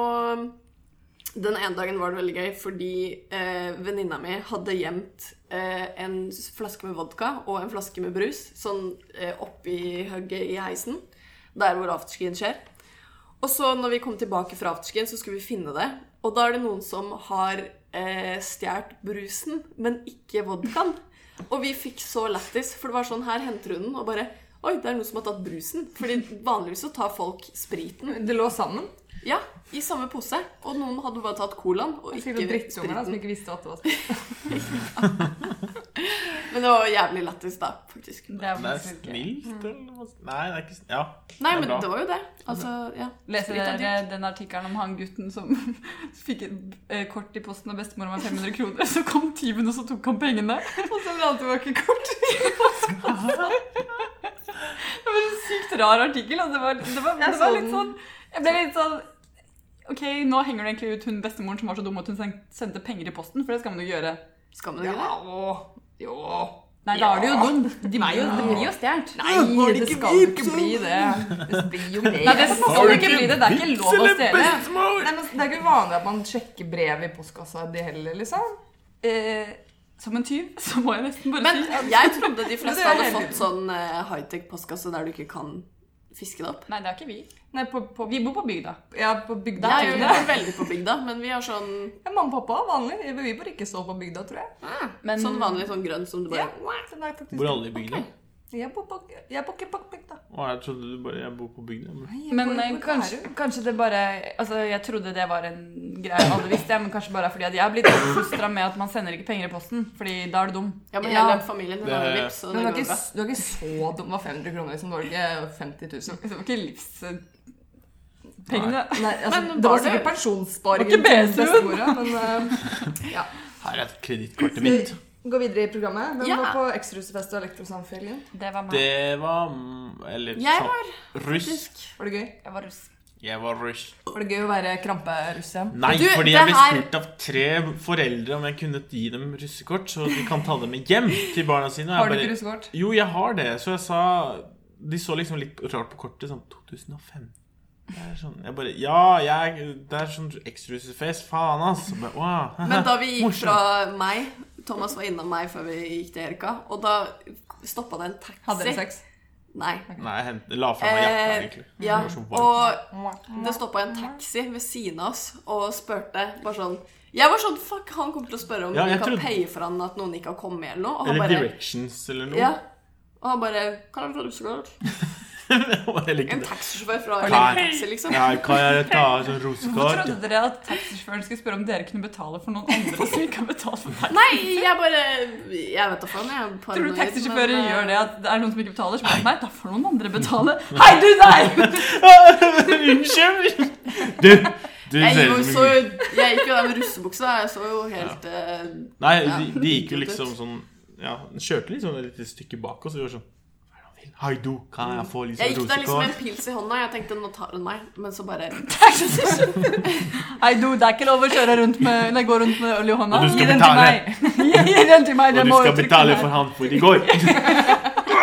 S5: og den ene dagen var det veldig gøy fordi eh, venninna mi hadde gjemt eh, en flaske med vodka og en flaske med brus sånn eh, oppi hugget i heisen, der hvor afterskien skjer. Og så når vi kom tilbake fra afterskien, så skulle vi finne det. Og da er det noen som har eh, stjålet brusen, men ikke vodkaen. Og vi fikk så lættis, for det var sånn her henter hun den, og bare Oi, det er noen som har tatt brusen. Fordi vanligvis så tar folk spriten.
S3: Det lå sammen.
S5: Ja, i samme pose. Og noen hadde bare tatt colaen og ikke
S3: Sikkert noen drittunger da, som
S5: spriten.
S3: ikke visste at det var spilt.
S5: Men det var jævlig lættis, da, faktisk.
S4: Det Mm. er
S1: Det er
S4: faktisk ikke-
S1: snilt, eller hva? Nei, det er ikke snilt. Ja.
S5: Nei,
S1: er
S5: men
S1: bra.
S5: det var jo det. Altså, ja.
S4: Leser
S5: Sprit er
S4: dere den artikkelen om han gutten som fikk et eh, kort i posten av bestemor om 500 kroner? Så kom tyven, og så tok han pengene.
S3: Og så ble alt tilbake kort.
S4: Det var en sykt rar artikkel, og det var, det var, det var
S5: så
S4: litt
S5: den.
S4: sånn Jeg ble litt sånn Ok, nå henger det egentlig ut hun bestemoren som var så dum at hun sen- sendte penger i posten, for det skal man jo gjøre.
S5: Skal man ikke det?
S3: Jo.
S4: Nei, da er det jo dum. De blir jo, det blir jo stjålet. Nei,
S3: Nei, det skal jo ikke bli det. Det blir jo det. sånn-
S4: det skal ikke bli det. Det er ikke lov å stjele.
S3: Nei, men det er ikke vanlig at man sjekker brev i postkassa de heller, liksom.
S4: Eh, som en tyv, så må jeg nesten bare
S5: Men
S4: si
S5: jeg trodde de
S3: Men det
S5: fleste
S3: er
S5: hadde
S3: helt
S5: fått sånn eh, high-tech-postkasse der du ikke kan fiske det opp.
S4: Nei, det er ikke vi.
S3: Nei, på, på,
S4: Vi bor på bygda.
S3: ja, på bygda.
S5: Jeg
S3: tror jeg.
S5: er jo ikke veldig på bygda, men vi har sånn,
S3: Ja, Mamma og pappa er vanlig. Vi- Vi bor ikke så på bygda, tror jeg.
S4: Men
S5: sånn vanlig sånn grønn som du
S3: Ja,
S5: bare
S3: den er faktisk...
S1: Bor alle i bygda?
S3: Jeg bor på, jeg bor ikke på bygda.
S1: Å, jeg trodde du bare Jeg bor på bygda. men-
S3: Nei, jeg
S4: Men
S3: bor i
S4: eh,
S3: Kværu.
S4: kanskje, kanskje det bare Altså, jeg trodde det var en greie alle visste, ja, men kanskje bare fordi at jeg har blitt oppfostra med at man sender ikke penger i posten, fordi da er du dum.
S5: Ja, men
S3: Ja.
S5: hele familien den har
S1: Det-
S5: jo vips,
S3: Men
S5: så
S3: du
S5: det
S3: er,
S5: går
S3: ikke,
S5: bra.
S3: du er ikke så dum. Det var 500 kroner, liksom. Det var ikke 50 000.
S4: Det var ikke livspengene. Nei.
S3: Nei, altså,
S5: Men
S3: det
S5: var
S3: var
S5: det-
S3: sikkert pensjonssparing.
S4: Var
S3: til
S4: ikke BSU.
S3: bestemora, Men eh,
S1: Her er kredittkortet mitt.
S3: gå videre i programmet. Hvem
S5: Ja.
S3: var på Ekstrahusefest og Elektrosamfunnet?
S4: Det var meg.
S1: Det var mm, Eller
S5: Jeg
S1: sånn Russ.
S3: Var det gøy?
S4: Jeg var russ.
S1: Jeg var russ.
S3: Var det gøy å være kramperuss igjen?
S1: Nei,
S5: Du,
S1: fordi
S5: det
S1: jeg ble
S5: her-
S1: spurt av tre foreldre om jeg kunne gi dem russekort, så de kan ta dem med hjem til barna sine. og jeg
S3: Har du
S1: bare-
S3: ikke russekort?
S1: Jo, jeg har det. Så jeg sa De så liksom litt rart på kortet. Sånn 2005. Det er sånn, jeg bare Ja, jeg, det er sånn ekstrahusefest. Faen, ass. Så bare, wow.
S5: Men da vi gikk
S1: Morsomt.
S5: fra meg Thomas var innom meg før vi gikk til Erika, og da stoppa det en taxi.
S3: Hadde dere sex?
S5: Nei.
S1: Nei, jeg hent- la fra meg jakka,
S5: Eh,
S1: egentlig.
S5: Ja,
S1: Det var så varmt.
S5: og det stoppa en taxi ved siden av oss og spurte bare sånn Jeg var sånn Fuck, han kommer til å spørre om
S1: Ja,
S5: vi
S1: jeg
S5: kan
S1: trodde-
S5: paye for han at noen ikke har kommet eller noe. Og han
S1: eller
S5: bare
S1: Directions eller noe.
S5: Ja. Og han bare Kan jeg få russekort?
S1: eller ikke
S5: En
S1: det.
S5: taxisjåfør fra en
S1: Nei.
S5: taxi, liksom.
S1: Ja, kan jeg ta sånn
S4: Hvorfor
S1: rosekort?
S4: trodde dere at taxisjåføren skulle spørre om dere kunne betale for noen andre som ikke har betalt for deg?
S5: Nei, jeg bare Jeg vet da faen. Jeg er
S4: Tror du
S5: paranoid,
S4: taxisjåfører
S5: men, eh,
S4: gjør det? At det er noen som ikke betaler? Så bare, nei, da får noen andre betale. Hei, du der!
S1: Unnskyld! Du, du
S5: Jeg,
S1: ser
S5: jo,
S1: ut
S5: så,
S1: som en
S5: jeg gikk jo der med russebuksa. Jeg så jo helt eh,
S1: Nei,
S5: Ja.
S1: de, de gikk jo liksom sånn Ja, den kjørte liksom et lite stykke bak oss. Og de var sånn "Hva er det han vil? Hei, du, kan jeg få litt sånn
S5: Jeg gikk der liksom med en
S1: rosekort?
S5: pils i hånda. Jeg tenkte nå tar hun meg. Men så bare
S4: Hei, du, det er ikke lov å kjøre rundt med, nei, gå rundt med øl i hånda.
S1: Og du skal
S4: Gi den
S1: betale.
S4: til meg. Gi- Gi den til meg.
S1: Og
S4: det
S1: du
S4: må
S1: skal
S4: trykke
S1: betale
S4: meg.
S1: for han for i går!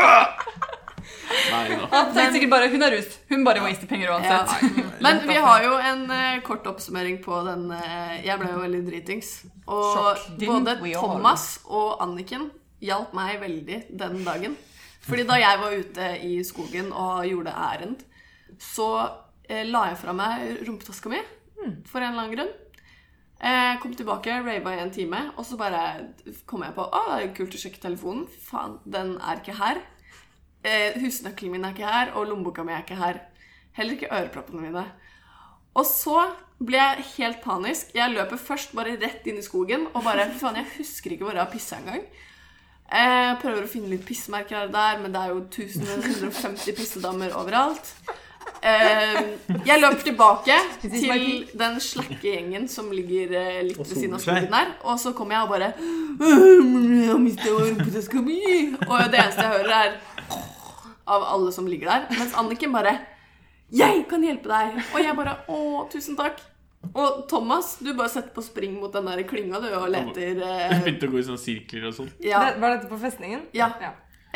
S1: Nei da.
S4: Han tenkte sikkert bare, hun er russ. Hun bare waster penger
S5: ja.
S4: uansett.
S5: Men vi har jo en eh, kort oppsummering på den eh, Jeg ble jo veldig dritings. Og
S4: Sjokk.
S5: både
S4: Didn't we all?
S5: Thomas og Anniken hjalp meg veldig den dagen. Fordi da jeg var ute i skogen og gjorde ærend,
S4: Hmm.
S5: så eh, la jeg fra meg rumpetaska mi for en eller annen grunn. Eh, kom tilbake, rava i en time, og så bare kom jeg på Å, det er kult å sjekke telefonen. Faen, den er ikke her. Eh, husnøkkelen min er ikke her, og lommeboka mi er ikke her. Heller ikke øreproppene mine. Og så ble jeg helt panisk. Jeg løper først bare rett inn i skogen og bare Fy faen, jeg husker ikke hvor jeg har pissa engang. Eh, prøver å finne litt pissmerker her og der, men det er jo 1150 pissedammer overalt. Eh, jeg løper tilbake til den slakke-gjengen som ligger eh, litt ved siden av
S1: soler seg.
S5: skogen der, og så kommer jeg og bare «Øh, jeg mistet rumpeteska mi!» Og det eneste jeg hører, er av alle som ligger der. Mens Anniken bare 'Jeg kan hjelpe deg!' Og jeg bare 'Å, tusen takk'. Og Thomas, du bare setter på spring mot den der klynga du og leter
S1: Jeg
S5: eh,
S1: begynte å gå i sånne sirkler og sånn.
S5: ja.
S3: Det, var dette på festningen?
S5: Ja.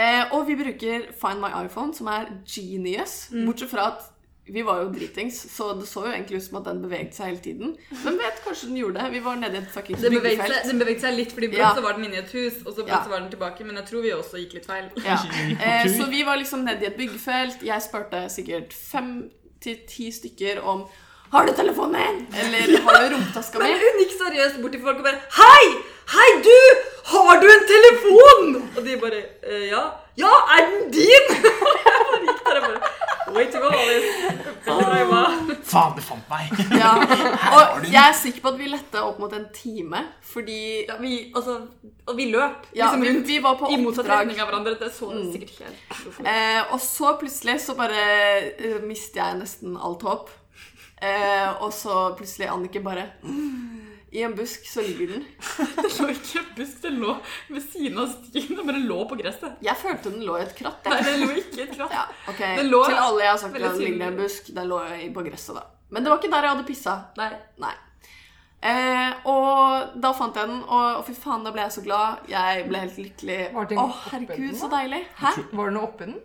S5: Eh, og vi bruker Find My iPhone, som er genius. Bortsett fra at vi var jo dritings, så det så jo egentlig ut som at den beveget seg hele tiden. Men vet kanskje den gjorde det. Vi var nede i et fuckings
S6: Den beveget,
S5: byggefelt.
S6: seg, den beveget seg litt, fordi brått
S5: Ja.
S6: så var den inne i et hus, og så brått
S5: Ja.
S6: så var den tilbake. Men jeg tror vi også gikk litt feil.
S5: Ja.
S1: Ikke
S5: Eh,
S1: tur.
S5: så vi var liksom nede i et byggefelt. Jeg spurte sikkert fem til ti stykker om Har du telefonen min? Eller har du rumpetaska mi?
S6: Men hun gikk seriøst bort til folk og bare Hei! Hei, du! Har du en telefon?! Og de bare «Eh, Ja. Ja, er den din?! Og jeg bare gikk der og bare Way to go, Alice. Veldig bra jobba.
S1: Faen, du fant meg!
S5: Ja. Og jeg er sikker på at vi letta opp mot en time, fordi
S6: Ja, vi, altså, og vi løp
S5: ja,
S6: liksom
S5: vi,
S6: rundt
S5: vi var på
S6: i motsatt
S5: oppdrag.
S6: retning av hverandre. Det så sikkert ikke helt
S5: Eh, og så plutselig så bare eh, mister jeg nesten alt håp. Eh, og så plutselig Annike bare "Mm, I en busk så ligger den.
S6: Det lå ikke i en busk, det lå ved siden av stien. Det bare lå på gresset.
S5: Jeg følte den lå i et kratt.
S6: Nei,
S5: Jeg.
S6: det lå ikke i et kratt.
S5: Ja, ok.
S6: Den lå-
S5: Til alle jeg har sagt at
S6: Veldig
S5: den ligger i en
S6: tydelig.
S5: busk, den lå i- på gresset da. Men det var ikke der jeg hadde pissa.
S6: Nei.
S5: Nei. Eh, og da fant jeg den, og, og fy faen, da ble jeg så glad. Jeg ble helt lykkelig.
S3: Var det
S5: Å,
S3: en oppe i
S5: herregud,
S3: den,
S5: så
S3: da?
S5: deilig. Hæ?
S3: Var det noe oppi den?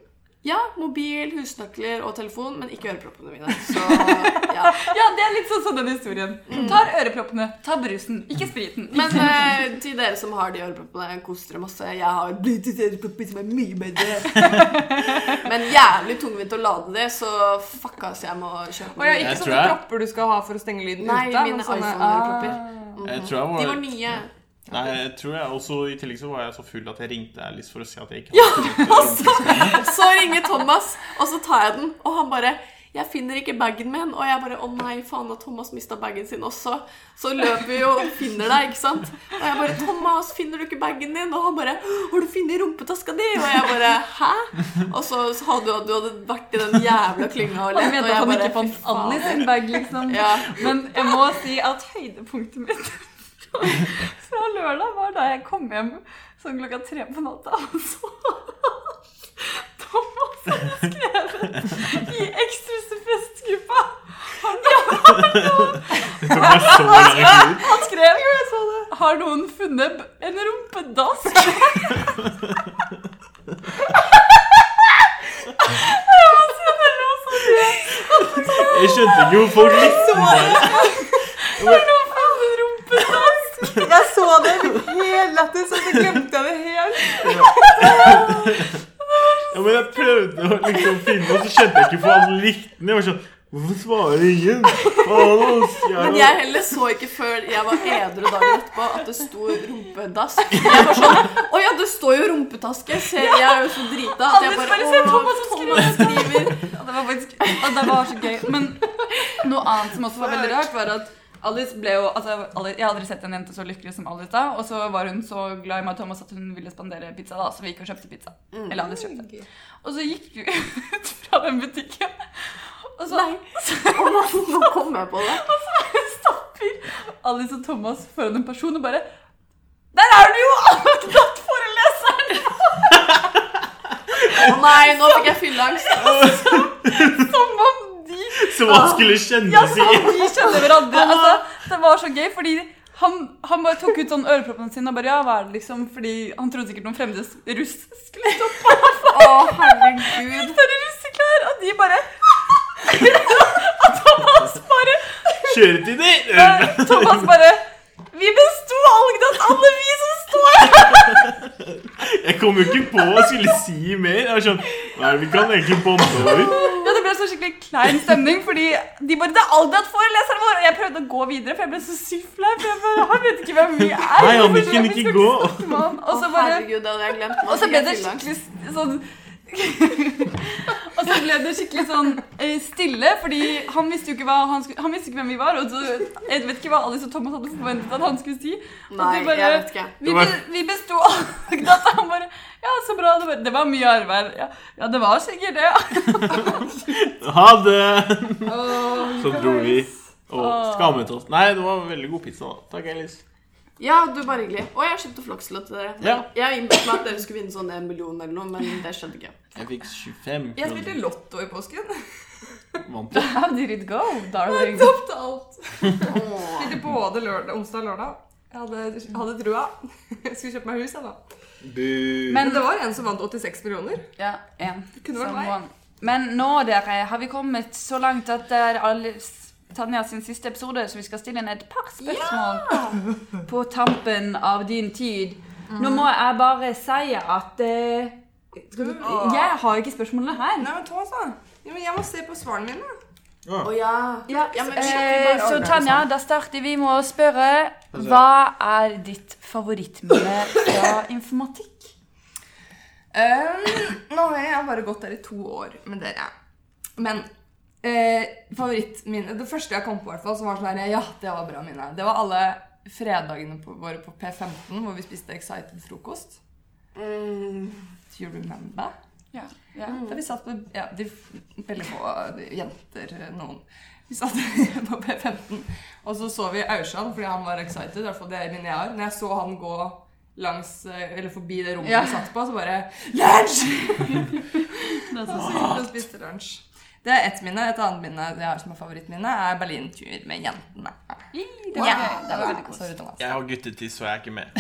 S5: Ja, mobil, husnøkler og telefon, men ikke øreproppene mine. Så ja.
S4: Ja, det er litt sånn som den historien. Tar øreproppene, tar brusen, ikke spriten.
S5: Men eh, til dere som har de øreproppene, kos dere masse. Jeg har Bluetooth ørepropper som er mye bedre. Men jævlig tungvint å lade det, så fuck ass, jeg må kjøpe
S3: Å ja,
S5: nye.
S3: ikke
S1: Jeg tror
S3: sånne
S1: jeg-
S3: propper du skal ha for å stenge lyden
S5: Nei,
S3: ute?
S5: mine
S3: men sånne-
S5: iPhone-ørekopper.
S3: Ah.
S1: Jeg tror jeg
S5: De
S1: var,
S5: var nye.
S1: Nei, jeg tror jeg også I tillegg så var jeg så full at jeg ringte Alice for å si at jeg ikke hadde ja,
S5: Så ringer Thomas, og så tar jeg den, og han bare jeg finner ikke bagen min, og jeg bare Å nei, faen, og Thomas mista bagen sin også. Så løper vi jo og finner deg, ikke sant. Og jeg bare 'Thomas, finner du ikke bagen din?' Og han bare 'Har du funnet rumpetaska di?' Og jeg bare 'Hæ?' Og så så hadde du, du hadde vært i den jævla klynga
S4: Jeg
S5: og lett, og
S4: mente at
S5: jeg
S4: han
S5: bare
S4: ikke fant
S5: «Fy faen».
S4: Annie sin bag, liksom.
S5: Ja.
S4: Men jeg må si at høydepunktet mitt fra lørdag var da jeg kom hjem sånn klokka tre på natta, og så Thomas hadde skrevet i Ekstruse festgruppa Har noen,
S1: Det var så lang tid.
S4: han skrev jo, jeg så det. Har noen funnet en rumpedask? Jeg må si at jeg lå så rød.
S1: Jeg skjønte ikke hvor folk likte meg.
S4: Har noen funnet en rumpedask?
S6: Jeg så det helt lættis, og så glemte jeg det helt.
S1: Ja, men jeg prøvde å liksom finne og så skjønte jeg ikke for alle likte den. Jeg var sånn Hvorfor svarer ingen? Faen, ass.
S5: Men jeg heller så ikke før jeg var edru dagen etterpå at det sto rumpedask. Jeg var sånn Å ja, det står jo rumpetaske. Se, jeg er jo så drita at jeg
S4: Anders,
S5: bare
S4: bare
S5: Å,
S4: se Thomas som
S5: Thomas skriver.
S4: Og det var faktisk og det var så gøy. Men noe annet som også var veldig rart, var at Alice ble jo altså, Alice, Jeg har aldri sett en jente så lykkelig som Alice da. Og så var hun så glad i meg og Thomas at hun ville spandere pizza, da, så vi gikk og kjøpte pizza.
S5: Mm.
S4: Eller Alice kjøpte. Og så gikk vi ut fra den butikken, og så
S5: Å, nå, nå kom jeg på det.
S4: stopper Alice og Thomas foran en person og bare Der er du jo! Anekdot foreleseren!
S5: Å nei, nå fikk jeg fylleangst.
S4: Som om de
S1: Som
S3: Ah.
S1: man skulle kjenne
S4: Ja,
S1: seg
S4: som de kjenner hverandre. Altså, det var så gøy, fordi han, han bare tok ut sånn øreproppene sine og bare Ja, hva er det liksom? Fordi han trodde sikkert noen fremmede russ skulle stoppe ham.
S5: Å, herregud.
S4: Gikk der i russeklær, og de bare Og Thomas bare eh,
S1: Kjøretider!
S4: Thomas bare Vi besto Algdat, alle vi som står her!
S1: Jeg kom jo ikke på hva jeg skulle si mer. Jeg var sånn Hva er det vi kan egentlig bonde over?
S4: Ja, det ble så skikkelig klein stemning, fordi de bare Det er alltid at foreleseren vår! Og jeg prøvde å gå videre, for jeg ble så sykt flau. for jeg bare, Han vet ikke hvem vi er!
S1: Nei, han
S4: Hvorfor
S1: vil
S4: skal
S1: ikke
S4: vi
S1: ikke
S4: snakke
S1: gå.
S4: sammen med han? Og så
S5: Å,
S4: bare
S5: herregud, det hadde jeg glemt.
S4: og
S5: Man
S4: så
S5: fikk
S4: ble
S5: helt
S4: det
S5: tilgang.
S4: skikkelig s- sånn Og så ble det skikkelig sånn eh, stille, fordi han visste jo ikke, hva han skulle, han visste ikke hvem vi var. Og så, jeg vet ikke hva Alice og Thomas hadde forventet at han skulle si. Og
S5: Nei,
S4: de bare-
S5: jeg vet ikke.
S4: Vi, be, vi besto alle og han bare Ja, så bra. Det, var, det var mye arbeid. Ja, ja det var sikkert det. ja.
S1: Ha det! Så dro vi
S3: Ah.
S1: og skammet oss. Nei, det var veldig god pizza. da. Takk, Alice.
S5: Ja, du bare hyggelig. Og jeg kjøpte floksløk til dere.
S1: Ja.
S5: Jeg innbilte meg at dere skulle vinne sånn en million eller noe, men det skjedde ikke.
S1: Jeg fikk 25
S3: Jeg spilte lotto i påsken.
S1: Vant jeg.
S4: How did it go, darling?
S3: Toppte alt.
S5: Åh.
S3: Spilte både lørdag, onsdag og lørdag. Jeg hadde, hadde trua. Jeg skulle kjøpe meg hus, jeg, da.
S1: Bu.
S4: Men
S3: Men det var en som vant 86 millioner.
S4: Ja, en.
S3: kunne vært
S4: Som
S3: meg.
S4: vant. Men nå, dere, har vi kommet så langt at eh, det er Alice- Tanja sin siste episode, så vi skal stille henne et par spørsmål på tampen av din tid.
S3: Mm.
S4: Nå må jeg bare si at eh, skal du, Jeg har ikke spørsmålene her.
S3: Nei, men Thomas, da. Jo, men jeg må se på svarene mine.
S5: Å ja.
S4: Ja,
S5: Ja, men-
S4: eh, så Tanja,
S3: sånn.
S4: da starter vi med å spørre Hva er ditt favorittminne fra informatikk?
S3: Um, nå har jeg bare gått der i to år med dere. Men eh, favorittminnet Det første jeg kom på, i hvert fall, som var sånn her Ja, det var bra minne. Det var alle fredagene på, våre på P15 hvor vi spiste Excited frokost.
S5: Mm.
S3: Do you remember?
S4: Ja, ja.
S3: Da vi satt på ja, de, Veldig få jenter, noen. Vi satt på P15, og så så vi Aursand fordi han var excited. I hvert fall det er mine jeg har. Når jeg så han gå langs, eh, eller forbi det rommet
S4: Ja.
S3: vi satt på, så bare Lunsj! Og så gikk vi og spiste lunsj. Det er ett minne. Et annet minne jeg har som er favorittminne, er Berlintur med jentene.
S4: det var gøy. Det var veldig
S3: koselig. Sorry, Thomas.
S1: Jeg har guttetiss, så jeg er ikke med.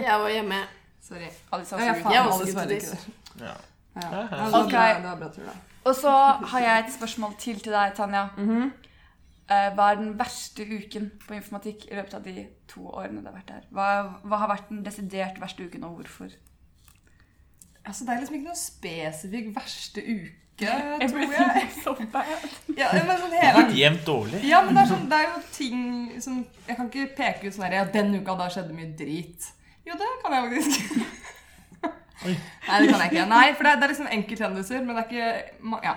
S5: Jeg var hjemme.
S3: Sorry.
S4: Alice har
S3: Ja,
S4: så
S3: faen,
S5: Jeg var også
S3: Alice var
S5: guttetiss.
S3: ikke der.
S1: Ja.
S3: Ja.
S1: Ja, ja.
S3: Ja, det var
S4: Ok.
S3: bra- det var bra tur, da.
S4: Og så har jeg et spørsmål til til deg, Tanja. Eh, Hva er den verste uken på informatikk i løpet av de to årene du har vært her? Hva, hva har vært den desidert verste uken, og hvorfor?
S3: Altså, det er liksom ikke noen spesifikk verste uke, tror jeg. Ja, men sånn
S1: Det har
S3: hele
S1: vært jevnt dårlig.
S3: Ja, men det er, sånn, det er jo ting som Jeg kan ikke peke ut sånn her Ja, den uka da skjedde mye drit. Jo, det kan jeg faktisk. Nei, det kan jeg ikke. Nei, for det er, det er liksom enkelthendelser, men det er ikke ma- Ja.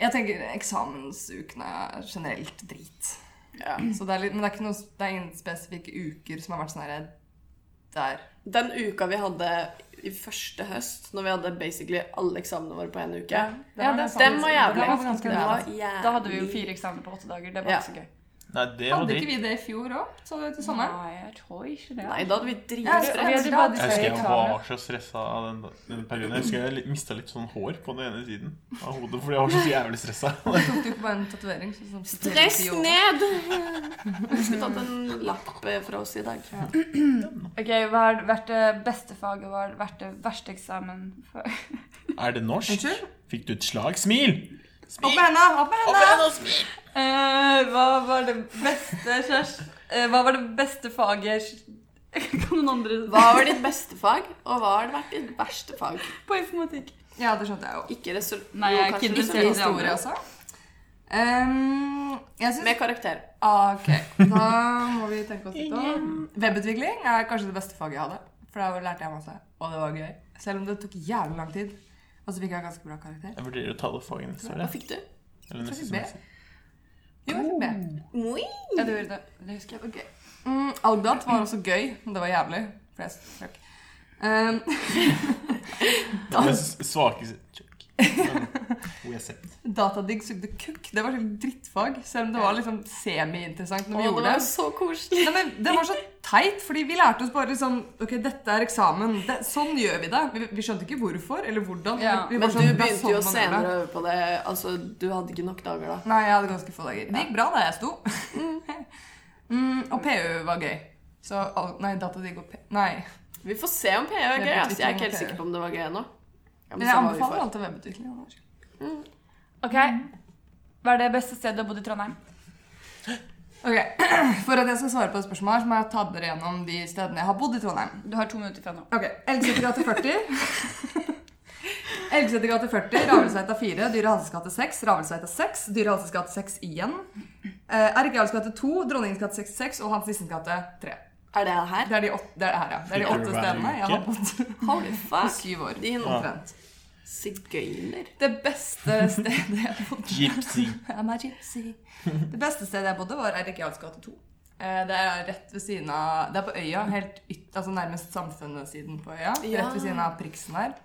S3: Jeg tenker eksamensukene er generelt drit.
S5: Ja.
S3: Så det er litt, men det er, ikke noe, det er ingen spesifikke uker som har vært sånn her der.
S5: Den uka vi hadde i første høst, når vi hadde basically alle eksamene våre på en uke,
S3: Ja, det er sant.
S5: den var jævlig.
S3: Det var ganske
S5: Den var
S3: bra.
S5: jævlig.
S4: Da hadde vi jo fire eksamener på åtte dager. Det var
S5: Ja.
S4: ikke så gøy.
S1: Nei, det var
S3: Hadde ikke
S1: dritt.
S3: vi det i fjor òg? Så det til sommeren?
S4: Nei, jeg tror ikke det.
S5: Nei, da hadde vi
S3: Ja, det-
S5: dritstress.
S4: Vi hadde bare de
S1: Jeg husker
S4: tre
S1: jeg
S4: eksamene.
S1: var så stressa av den, den perioden. Jeg husker jeg mista litt sånn hår på den ene siden av hodet fordi jeg var så jævlig stressa.
S3: Tok du ikke bare en tatovering? sånn som-
S5: Stress ned! Vi skulle tatt en lapp eh, fra oss i dag.
S4: Ok, Hva har vært det beste faget? Hva har vært det verste eksamen? for-
S1: Er det norsk?
S3: Unnskyld?
S1: Fikk du et slag? Smil!
S3: Opp med henda! Opp med henda!
S4: Eh, hva var det beste kjæreste... hva var det beste faget Kan noen andre
S5: Hva var ditt beste fag, og hva har vært ditt verste fag?
S4: på informatikk?
S3: Ja, det skjønte jeg jo.
S5: Ikke result...
S4: Nei, jeg er ikke interessert i det
S3: Historie,
S4: andre.
S5: historie. altså.
S3: altså. Ehm, jeg syns
S5: Med karakter.
S3: ah, Ok, da må vi tenke oss litt om. Webutvikling er kanskje det beste faget jeg hadde. For da lærte jeg masse, og det var gøy. Selv om det tok jævlig lang tid. Og så fikk jeg ganske bra karakter.
S1: Jeg vurderer å ta det faget neste år.
S5: Hva
S1: jeg.
S5: fikk du?
S1: Eller neste
S3: Fikk B.
S1: semester.
S3: Jo, jeg fikk B.
S5: Moi.
S4: Ja, det gjorde det. Det husker jeg.
S3: Okay. Mm, Algdat var også gøy, men det var jævlig. For jeg strøk. Ehm,
S1: Den svakeste Check. Hvor jeg sett.
S3: Datadigg sugde kukk. Det var sånn drittfag, selv om det var liksom semi-interessant når
S5: Å,
S3: vi
S5: det
S3: gjorde
S5: var
S3: det.
S5: jo så koselig.
S3: Nei, men det var så teit, fordi vi lærte oss bare sånn Ok, dette er eksamen. Det, sånn gjør vi det. Vi, vi skjønte ikke hvorfor eller hvordan.
S4: Ja.
S3: Vi, vi
S5: Men
S3: var
S5: du
S3: sånn, det er
S5: begynte jo
S3: sånn man gjør det.
S5: senere å øve på det. Altså, du hadde ikke nok dager da.
S3: Nei, jeg hadde ganske få dager. Det gikk bra da jeg sto. mm, og PU var gøy. Så al- Nei, datadigg og P... Nei.
S5: Vi får se om PE er
S3: Jeg
S5: gøy.
S3: vet
S5: Altså, jeg er ikke
S3: ikke
S5: helt
S3: om
S5: sikker på om det var gøy ennå. Ja,
S3: Men
S5: så
S3: jeg
S5: var vi for.
S3: anbefaler alltid webutvikling. Anders.
S4: Ok, Hva er det beste stedet du har bodd i Trondheim?
S3: Ok, For at jeg skal svare på et spørsmål, her, så må jeg ta dere gjennom de stedene jeg har bodd i Trondheim.
S4: Du har to minutter fra nå.
S3: Ok, Elgsetergata 40. Elgesetergate 40, Ravelsveita 4, Dyre Hansesgate 6, Ravelsveita 6, Dyre Hansesgate 6 igjen. Eh, Erke Jarlsgate 2, Dronningens gate 66 og Hans Nissens gate 3.
S5: Er det her?
S3: Det er de åtte, det er det her, ja. det er de
S1: Flytter
S3: åtte
S1: du hver
S3: stedene jeg har
S1: uke?
S3: bodd
S5: Holy
S3: på
S5: fuck.
S3: syv år.
S5: Din
S3: Omtrent.
S5: sigøyner.
S3: Det beste stedet jeg bodde
S1: Gypsy.
S3: I'm a gypsy. Det beste stedet jeg bodde, var Eirik Jarls gate 2. Eh, Det er rett ved siden av Det er på øya, helt yt, altså nærmest samfunnssiden på øya.
S5: Ja.
S3: Rett ved siden av Priksen her.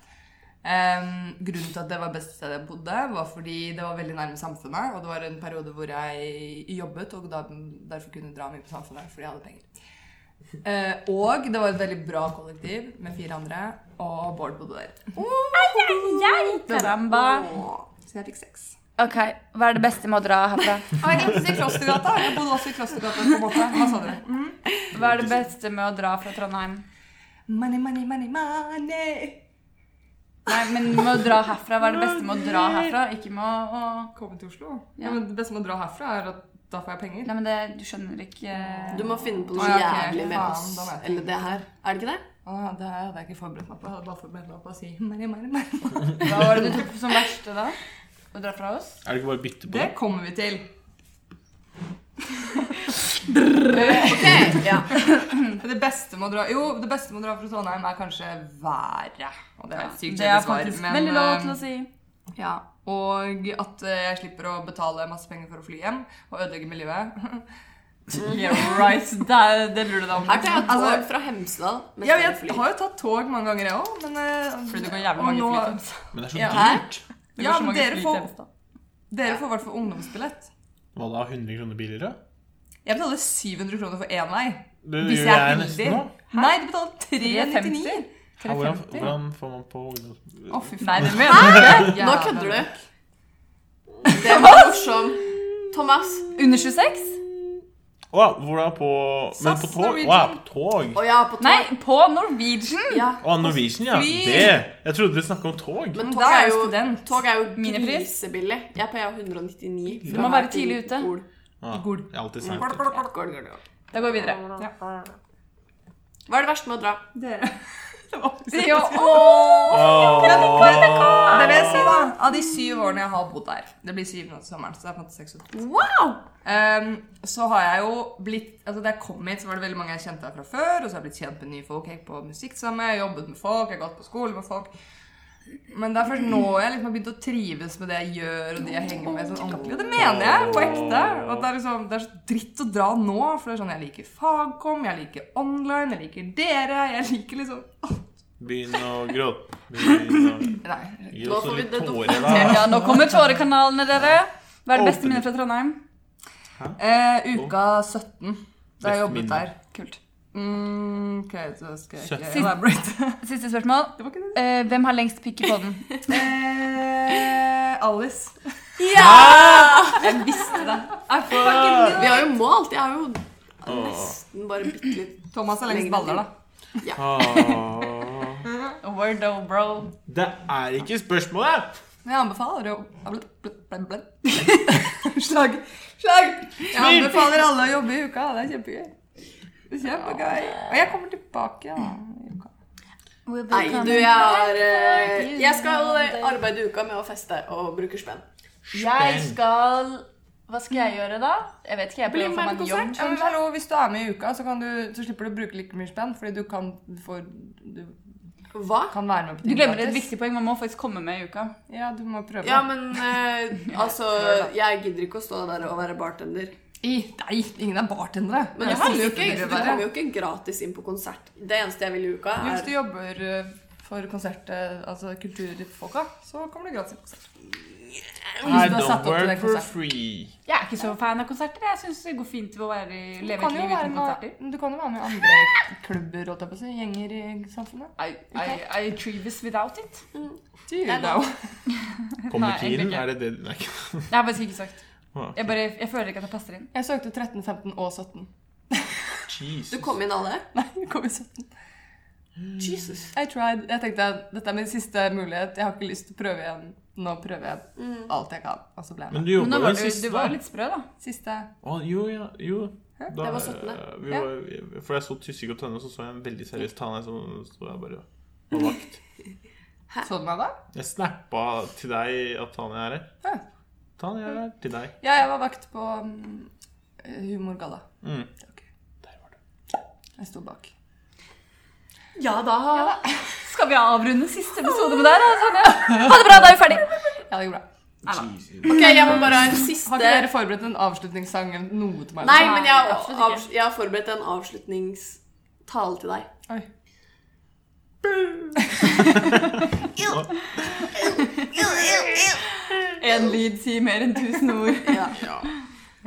S3: Em, grunnen til at det var beste stedet jeg bodde, var fordi det var veldig nærme samfunnet. Og det var en periode hvor jeg jobbet, og da, derfor kunne dra mye på samfunnet fordi jeg hadde penger. Eh, og det var et veldig bra kollektiv med fire andre, og Bård bodde der.
S4: Karamba.
S3: Så jeg fikk seks.
S7: Ok, Hva er det beste med å dra herfra?
S3: Og jeg glemte å si Klostergata. Jeg bodde også i Klostergata. på en måte. Hva sa dere?
S7: Hva er det beste med å dra fra Trondheim?
S3: Money, money, money, money.
S4: Nei, men med å dra herfra. Hva er det beste med å dra herfra? Ikke med å... å-
S3: Komme til Oslo? Ja, men Det beste med å dra herfra, er at da får jeg penger.
S4: Nei, men det, du skjønner ikke
S5: Du må finne på noe
S3: Å, ja, ok.
S5: jævlig med
S3: Faen,
S5: oss.
S3: da vet jeg.
S5: Eller det her. Er det ikke det?
S3: Ah, det her hadde jeg ikke forberedt meg på. Jeg hadde bare forberedt meg på å si money, money, money.
S4: Hva var det du tok som verste, da? Å dra fra oss?
S1: Er det ikke bare å bytte på
S3: Det
S1: det?
S3: kommer vi til.
S5: Ja.
S3: Det beste med å dra Jo, det beste med å dra fra Trondheim er kanskje været. Og det er et sykt
S4: Det er
S3: kjedelig svar,
S4: faktisk
S3: men,
S4: veldig lov til
S3: eh,
S4: å si.
S3: Ja, og at eh, jeg slipper å betale masse penger for å fly hjem og ødelegge miljøet.
S4: Yeah, right. Det, er- det lurer du deg om.
S5: Her tar jeg
S3: Altså-
S5: tog fra Hemsedal. med
S3: Ja, jeg
S5: fly.
S3: har jo tatt tog mange ganger, jeg òg, men eh,
S4: Fordi det går jævlig
S3: og
S4: mange
S3: nå-
S4: flytips.
S1: Men det er så
S3: Ja.
S1: dyrt.
S4: Det går
S3: Ja,
S4: så
S3: men
S4: mange
S3: dere får-
S4: flytips, da.
S3: Dere får i hvert fall ungdomsbillett.
S1: Hva da? 100 kroner billigere?
S3: Jeg betaler 700 kroner for én vei.
S1: Det
S3: Hvis
S1: gjør
S3: jeg er
S1: jeg nesten nå.
S3: heldig. Nei, du betaler 399.
S4: 350.
S1: Ja, Hvordan, hvordan får man på ungdoms...
S3: Å, fy faen.
S4: Nei, det mener jeg ikke.
S5: Nå kødder du. Det var morsomt. Thomas.
S4: Under 26?
S1: Wow, hvordan på Men på
S3: SAS,
S1: tog?
S3: Norwegian.
S1: Wow, tog.
S5: Å ja, på tog.
S4: Nei, på Norwegian.
S5: Ja.
S1: Å, Norwegian, ja.
S3: Fly.
S1: Det. Jeg trodde du snakket om tog.
S5: Men
S3: Men
S5: tog
S3: da
S5: er
S3: er jeg
S5: jo,
S3: student.
S5: tog er jo
S4: Minipris.
S5: grisebillig. Jeg er på EU199.
S1: Du
S4: må være tidlig ute.
S1: Ah,
S3: Gol.
S1: jeg er alltid seint.
S4: Da går vi videre.
S5: Hva er det verste med å dra?
S3: Dere.
S4: Det er jo, åh.
S3: Det vil jeg si, da. Av de syv årene jeg har bodd der Det blir syv nå til sommeren. Så det er på en måte seks år. Ehm, så har jeg jo blitt Altså Da jeg kom hit, så var det veldig mange jeg kjente her fra før. Og så har jeg blitt kjent med nye folk. Jeg gikk på musikk sammen, jeg jobbet med folk, jeg har gått på skole med folk. Men det er først nå jeg liksom har begynt å trives med det jeg gjør, og de jeg henger med sånn ordentlig. Og det mener jeg på ekte. Og at det, er liksom, det er så dritt å dra nå, for det er sånn jeg liker fagkom, jeg liker online, jeg liker dere, jeg liker liksom
S1: Begynn å gråte. Begynn å
S3: Nei.
S1: gi
S5: Nå
S1: oss
S5: får vi
S1: litt
S5: det
S1: tårer, da.
S4: Ja, nå kommer tårekanalene, dere. Hva er det beste minnet fra Trondheim?
S3: Eh, uka 17, da jeg
S1: Best
S3: jobbet
S1: minne.
S3: der.
S4: Kult.
S3: Mm, ok, så skal jeg ikke
S1: Sytten.
S3: elaborate.
S4: Siste spørsmål.
S3: Det var ikke det.
S4: Eh, hvem har lengst pikk i podden?
S3: Eh, Alice.
S4: Jeg visste det.
S5: Vi har jo målt. Jeg har jo
S1: Åh.
S5: nesten bare bitte litt
S3: Thomas har lengst
S5: Lengre
S3: baller, da.
S1: Åh.
S4: Wordo, bro.
S1: Det er ikke spørsmålet!
S3: Men jeg anbefaler å Slag! Slag! Jeg anbefaler alle å jobbe i uka. Det er kjempegøy. Det er Kjempegøy. Og jeg kommer tilbake. Ja. i uka.
S5: Nei, du, jeg har eh, Jeg skal eh, arbeide i uka med å feste og bruke spenn.
S4: Jeg skal Hva skal jeg gjøre, da? Jeg vet ikke. Jeg prøver å få meg en jobb.
S3: Ja, men hallo, hvis du er med i uka, så, kan du, så slipper du å bruke like mye spenn. Fordi du kan, du får, du
S5: Hva?
S3: kan være med på
S4: Du
S3: ting
S4: glemmer et
S3: gratis.
S4: viktig poeng. Man må faktisk komme med i uka.
S3: Ja, du må prøve.
S5: Ja, men eh, altså Jeg gidder ikke å stå der og være bartender.
S3: I, nei, ingen er bartendere.
S5: Men
S3: Det
S5: jeg
S3: er
S5: kommer jo ikke,
S3: superbra
S5: du
S3: å være.
S5: kommer jo ikke gratis inn på konsert. Det eneste jeg vil i uka,
S3: Jo, Hvis du
S5: er
S3: jobber eh, for konsert, eh, altså kulturfolka, så kommer du gratis på konsert.
S1: I
S3: du har satt opp
S1: don't
S3: til
S1: work
S3: den
S1: for
S3: konserten.
S1: free.
S4: Jeg er ikke så fan av konserter. Jeg syns det går fint å være,
S3: Du
S4: leve
S3: kan,
S4: et
S3: jo
S4: liv
S3: være
S4: uten konserter.
S3: med, du kan jo være med i andre klubber, holdt jeg på å si, gjenger i samfunnet.
S4: I, I, I trives without it.
S3: Du, da.
S1: Kommer
S4: Nei,
S1: tiden?
S4: egentlig ikke.
S1: Er det det Nei, ikke.
S4: Det har jeg faktisk ikke sagt.
S1: Åh,
S4: Jeg, bare, jeg føler ikke at jeg passer inn.
S3: Jeg søkte 13, 15 og 17.
S1: Jesus.
S5: Du kom inn alle?
S3: Nei, jeg kom i 17.
S5: Jesus.
S3: I tried. Jeg tenkte at dette er min siste mulighet. Jeg har ikke lyst til å prøve igjen. Nå prøver jeg
S5: Mm.
S3: alt jeg kan, og så ble jeg
S1: Men
S3: med.
S1: du
S4: Men
S1: jobba
S4: nå
S1: jo
S4: var
S1: den
S4: du, du
S1: siste,
S4: var
S1: da.
S4: jo litt sprø, da.
S3: Siste
S1: Å, jo, ja, jo. Da,
S5: Det var 17..
S1: eh, vi
S3: Ja.
S1: var- For jeg så Tyssig og Tønne, og så så jeg en veldig seriøs tane som sto der bare på vakt.
S3: Så du meg da?
S1: Jeg snappa til deg at Tanja er her.
S3: Ja.
S1: Tanja er her til deg.
S3: Ja, jeg var vakt på mm, Humorgalla.
S1: Mm.
S3: Jeg sto bak.
S4: Ja da. Skal vi avrunde siste episode med deg, da? Sonja? Ha det bra, da er vi ferdig.
S3: Ja, det gikk bra.
S5: Ok, jeg må bare ha en siste
S3: Har ikke dere forberedt en avslutningssang eller noe til meg?
S5: Nei, men
S4: Nei,
S5: jeg, har-
S4: absolutt ikke.
S5: avs- jeg har forberedt en avslutningstale til deg.
S3: Oi.
S4: Én lyd sier mer enn tusen ord.
S5: Ja.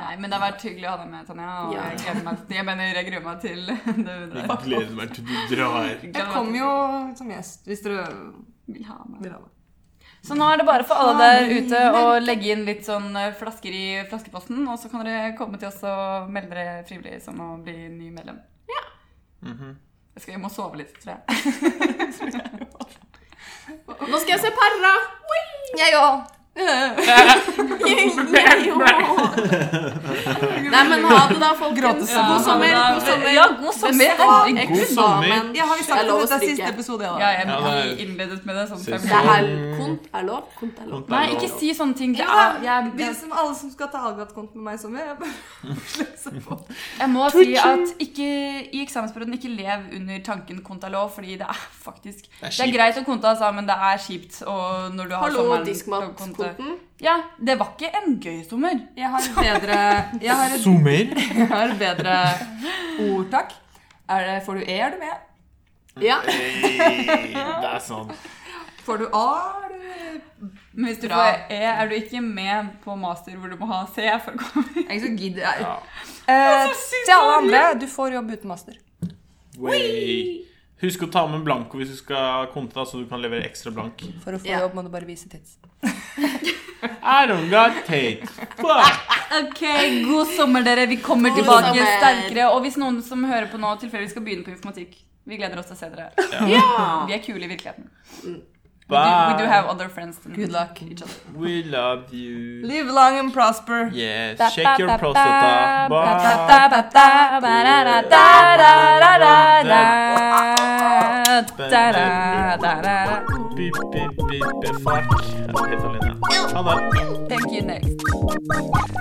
S4: Nei, men det har vært hyggelig å ha deg med, Tanja. Og
S5: Ja.
S4: jeg gleder meg, jeg mener, jeg gruer meg til det du
S1: Jeg gleder meg til du drar.
S3: Jeg kommer jo som gjest, hvis dere
S4: vil ha meg.
S3: vil ha det.
S4: Så nå er det bare for alle der ute å legge inn litt sånn eh, flasker i flaskeposten, og så kan dere komme til oss og melde dere frivillig som å bli ny medlem. Ja.
S1: Mhm.
S4: Jeg, skal, jeg må sove litt, tror jeg.
S5: Nå skal jeg se Perra!
S3: Jeg òg.
S5: Nei, men ha det, da, folkens.
S3: Gråtesang.
S5: God sommer.
S4: Ja,
S5: God sommer.
S4: Ja, god sommer.
S5: Bestå
S4: Herregud.
S1: God sommer.
S5: eksamen.
S3: Ja, har vi
S5: Det er
S3: sagt at
S5: lov å
S3: dette er
S5: strikke.
S3: siste episode? Ja, da?
S4: Ja, jeg,
S1: Ja, det er-
S4: jeg innledet med det sånn
S1: Ses.
S4: fem
S5: Det er kont er lov. Kont er lov.
S1: Kont er
S4: Nei,
S1: lov.
S4: ikke si sånne ting. Det
S3: Ja,
S4: er, jeg,
S3: Vi
S4: jeg,
S3: som alle som skal ta Algat-kont med meg i sommer. Jeg bare sløser på.
S4: jeg må si at ikke, i eksamensperioden ikke lev under tanken konta lov, fordi det er faktisk
S1: er
S4: Det er
S1: kjipt.
S4: greit å konta, altså, men det er kjipt og når du har
S5: Hallo,
S4: sommeren til å konte.
S5: diskmatkonten.
S4: Ja, det var ikke en gøy sommer.
S3: Jeg har et bedre, jeg har et,
S1: Sommer.
S3: jeg har et bedre ord, takk. Er det, får du E, er du med?
S5: Ja.
S1: Hey, det er sånn.
S3: Får du A, er du
S4: Men hvis du
S3: Bra.
S4: får E, er du ikke med på master hvor du må ha C for å komme inn.
S3: Jeg er ikke så gidd. jeg-
S1: Ja.
S3: Eh, til alle andre, du får jobb uten master.
S1: Wey. Husk å ta med blanko hvis du skal konte, da, så du kan levere ekstra blank.
S3: For å få
S5: Ja.
S3: jobb må du bare vise tids.
S1: I don't got tape. Fuck.
S4: Ok, god sommer, dere. Vi kommer
S5: God
S4: tilbake
S5: sommer.
S4: sterkere. Og hvis noen som hører på nå, tilfeldigvis skal begynne på informatikk, vi gleder oss til å se dere. Vi er kule i virkeligheten. We do, we do
S1: Bye.
S4: have other friends than
S3: Good luck.
S4: each other.
S1: We love you.
S3: Live long and prosper.
S1: Yes. Check your prostata. Bye. Beep, beep, beep, beep. Fuck. Jeg er helt alene. Ha det.
S4: Thank you, next.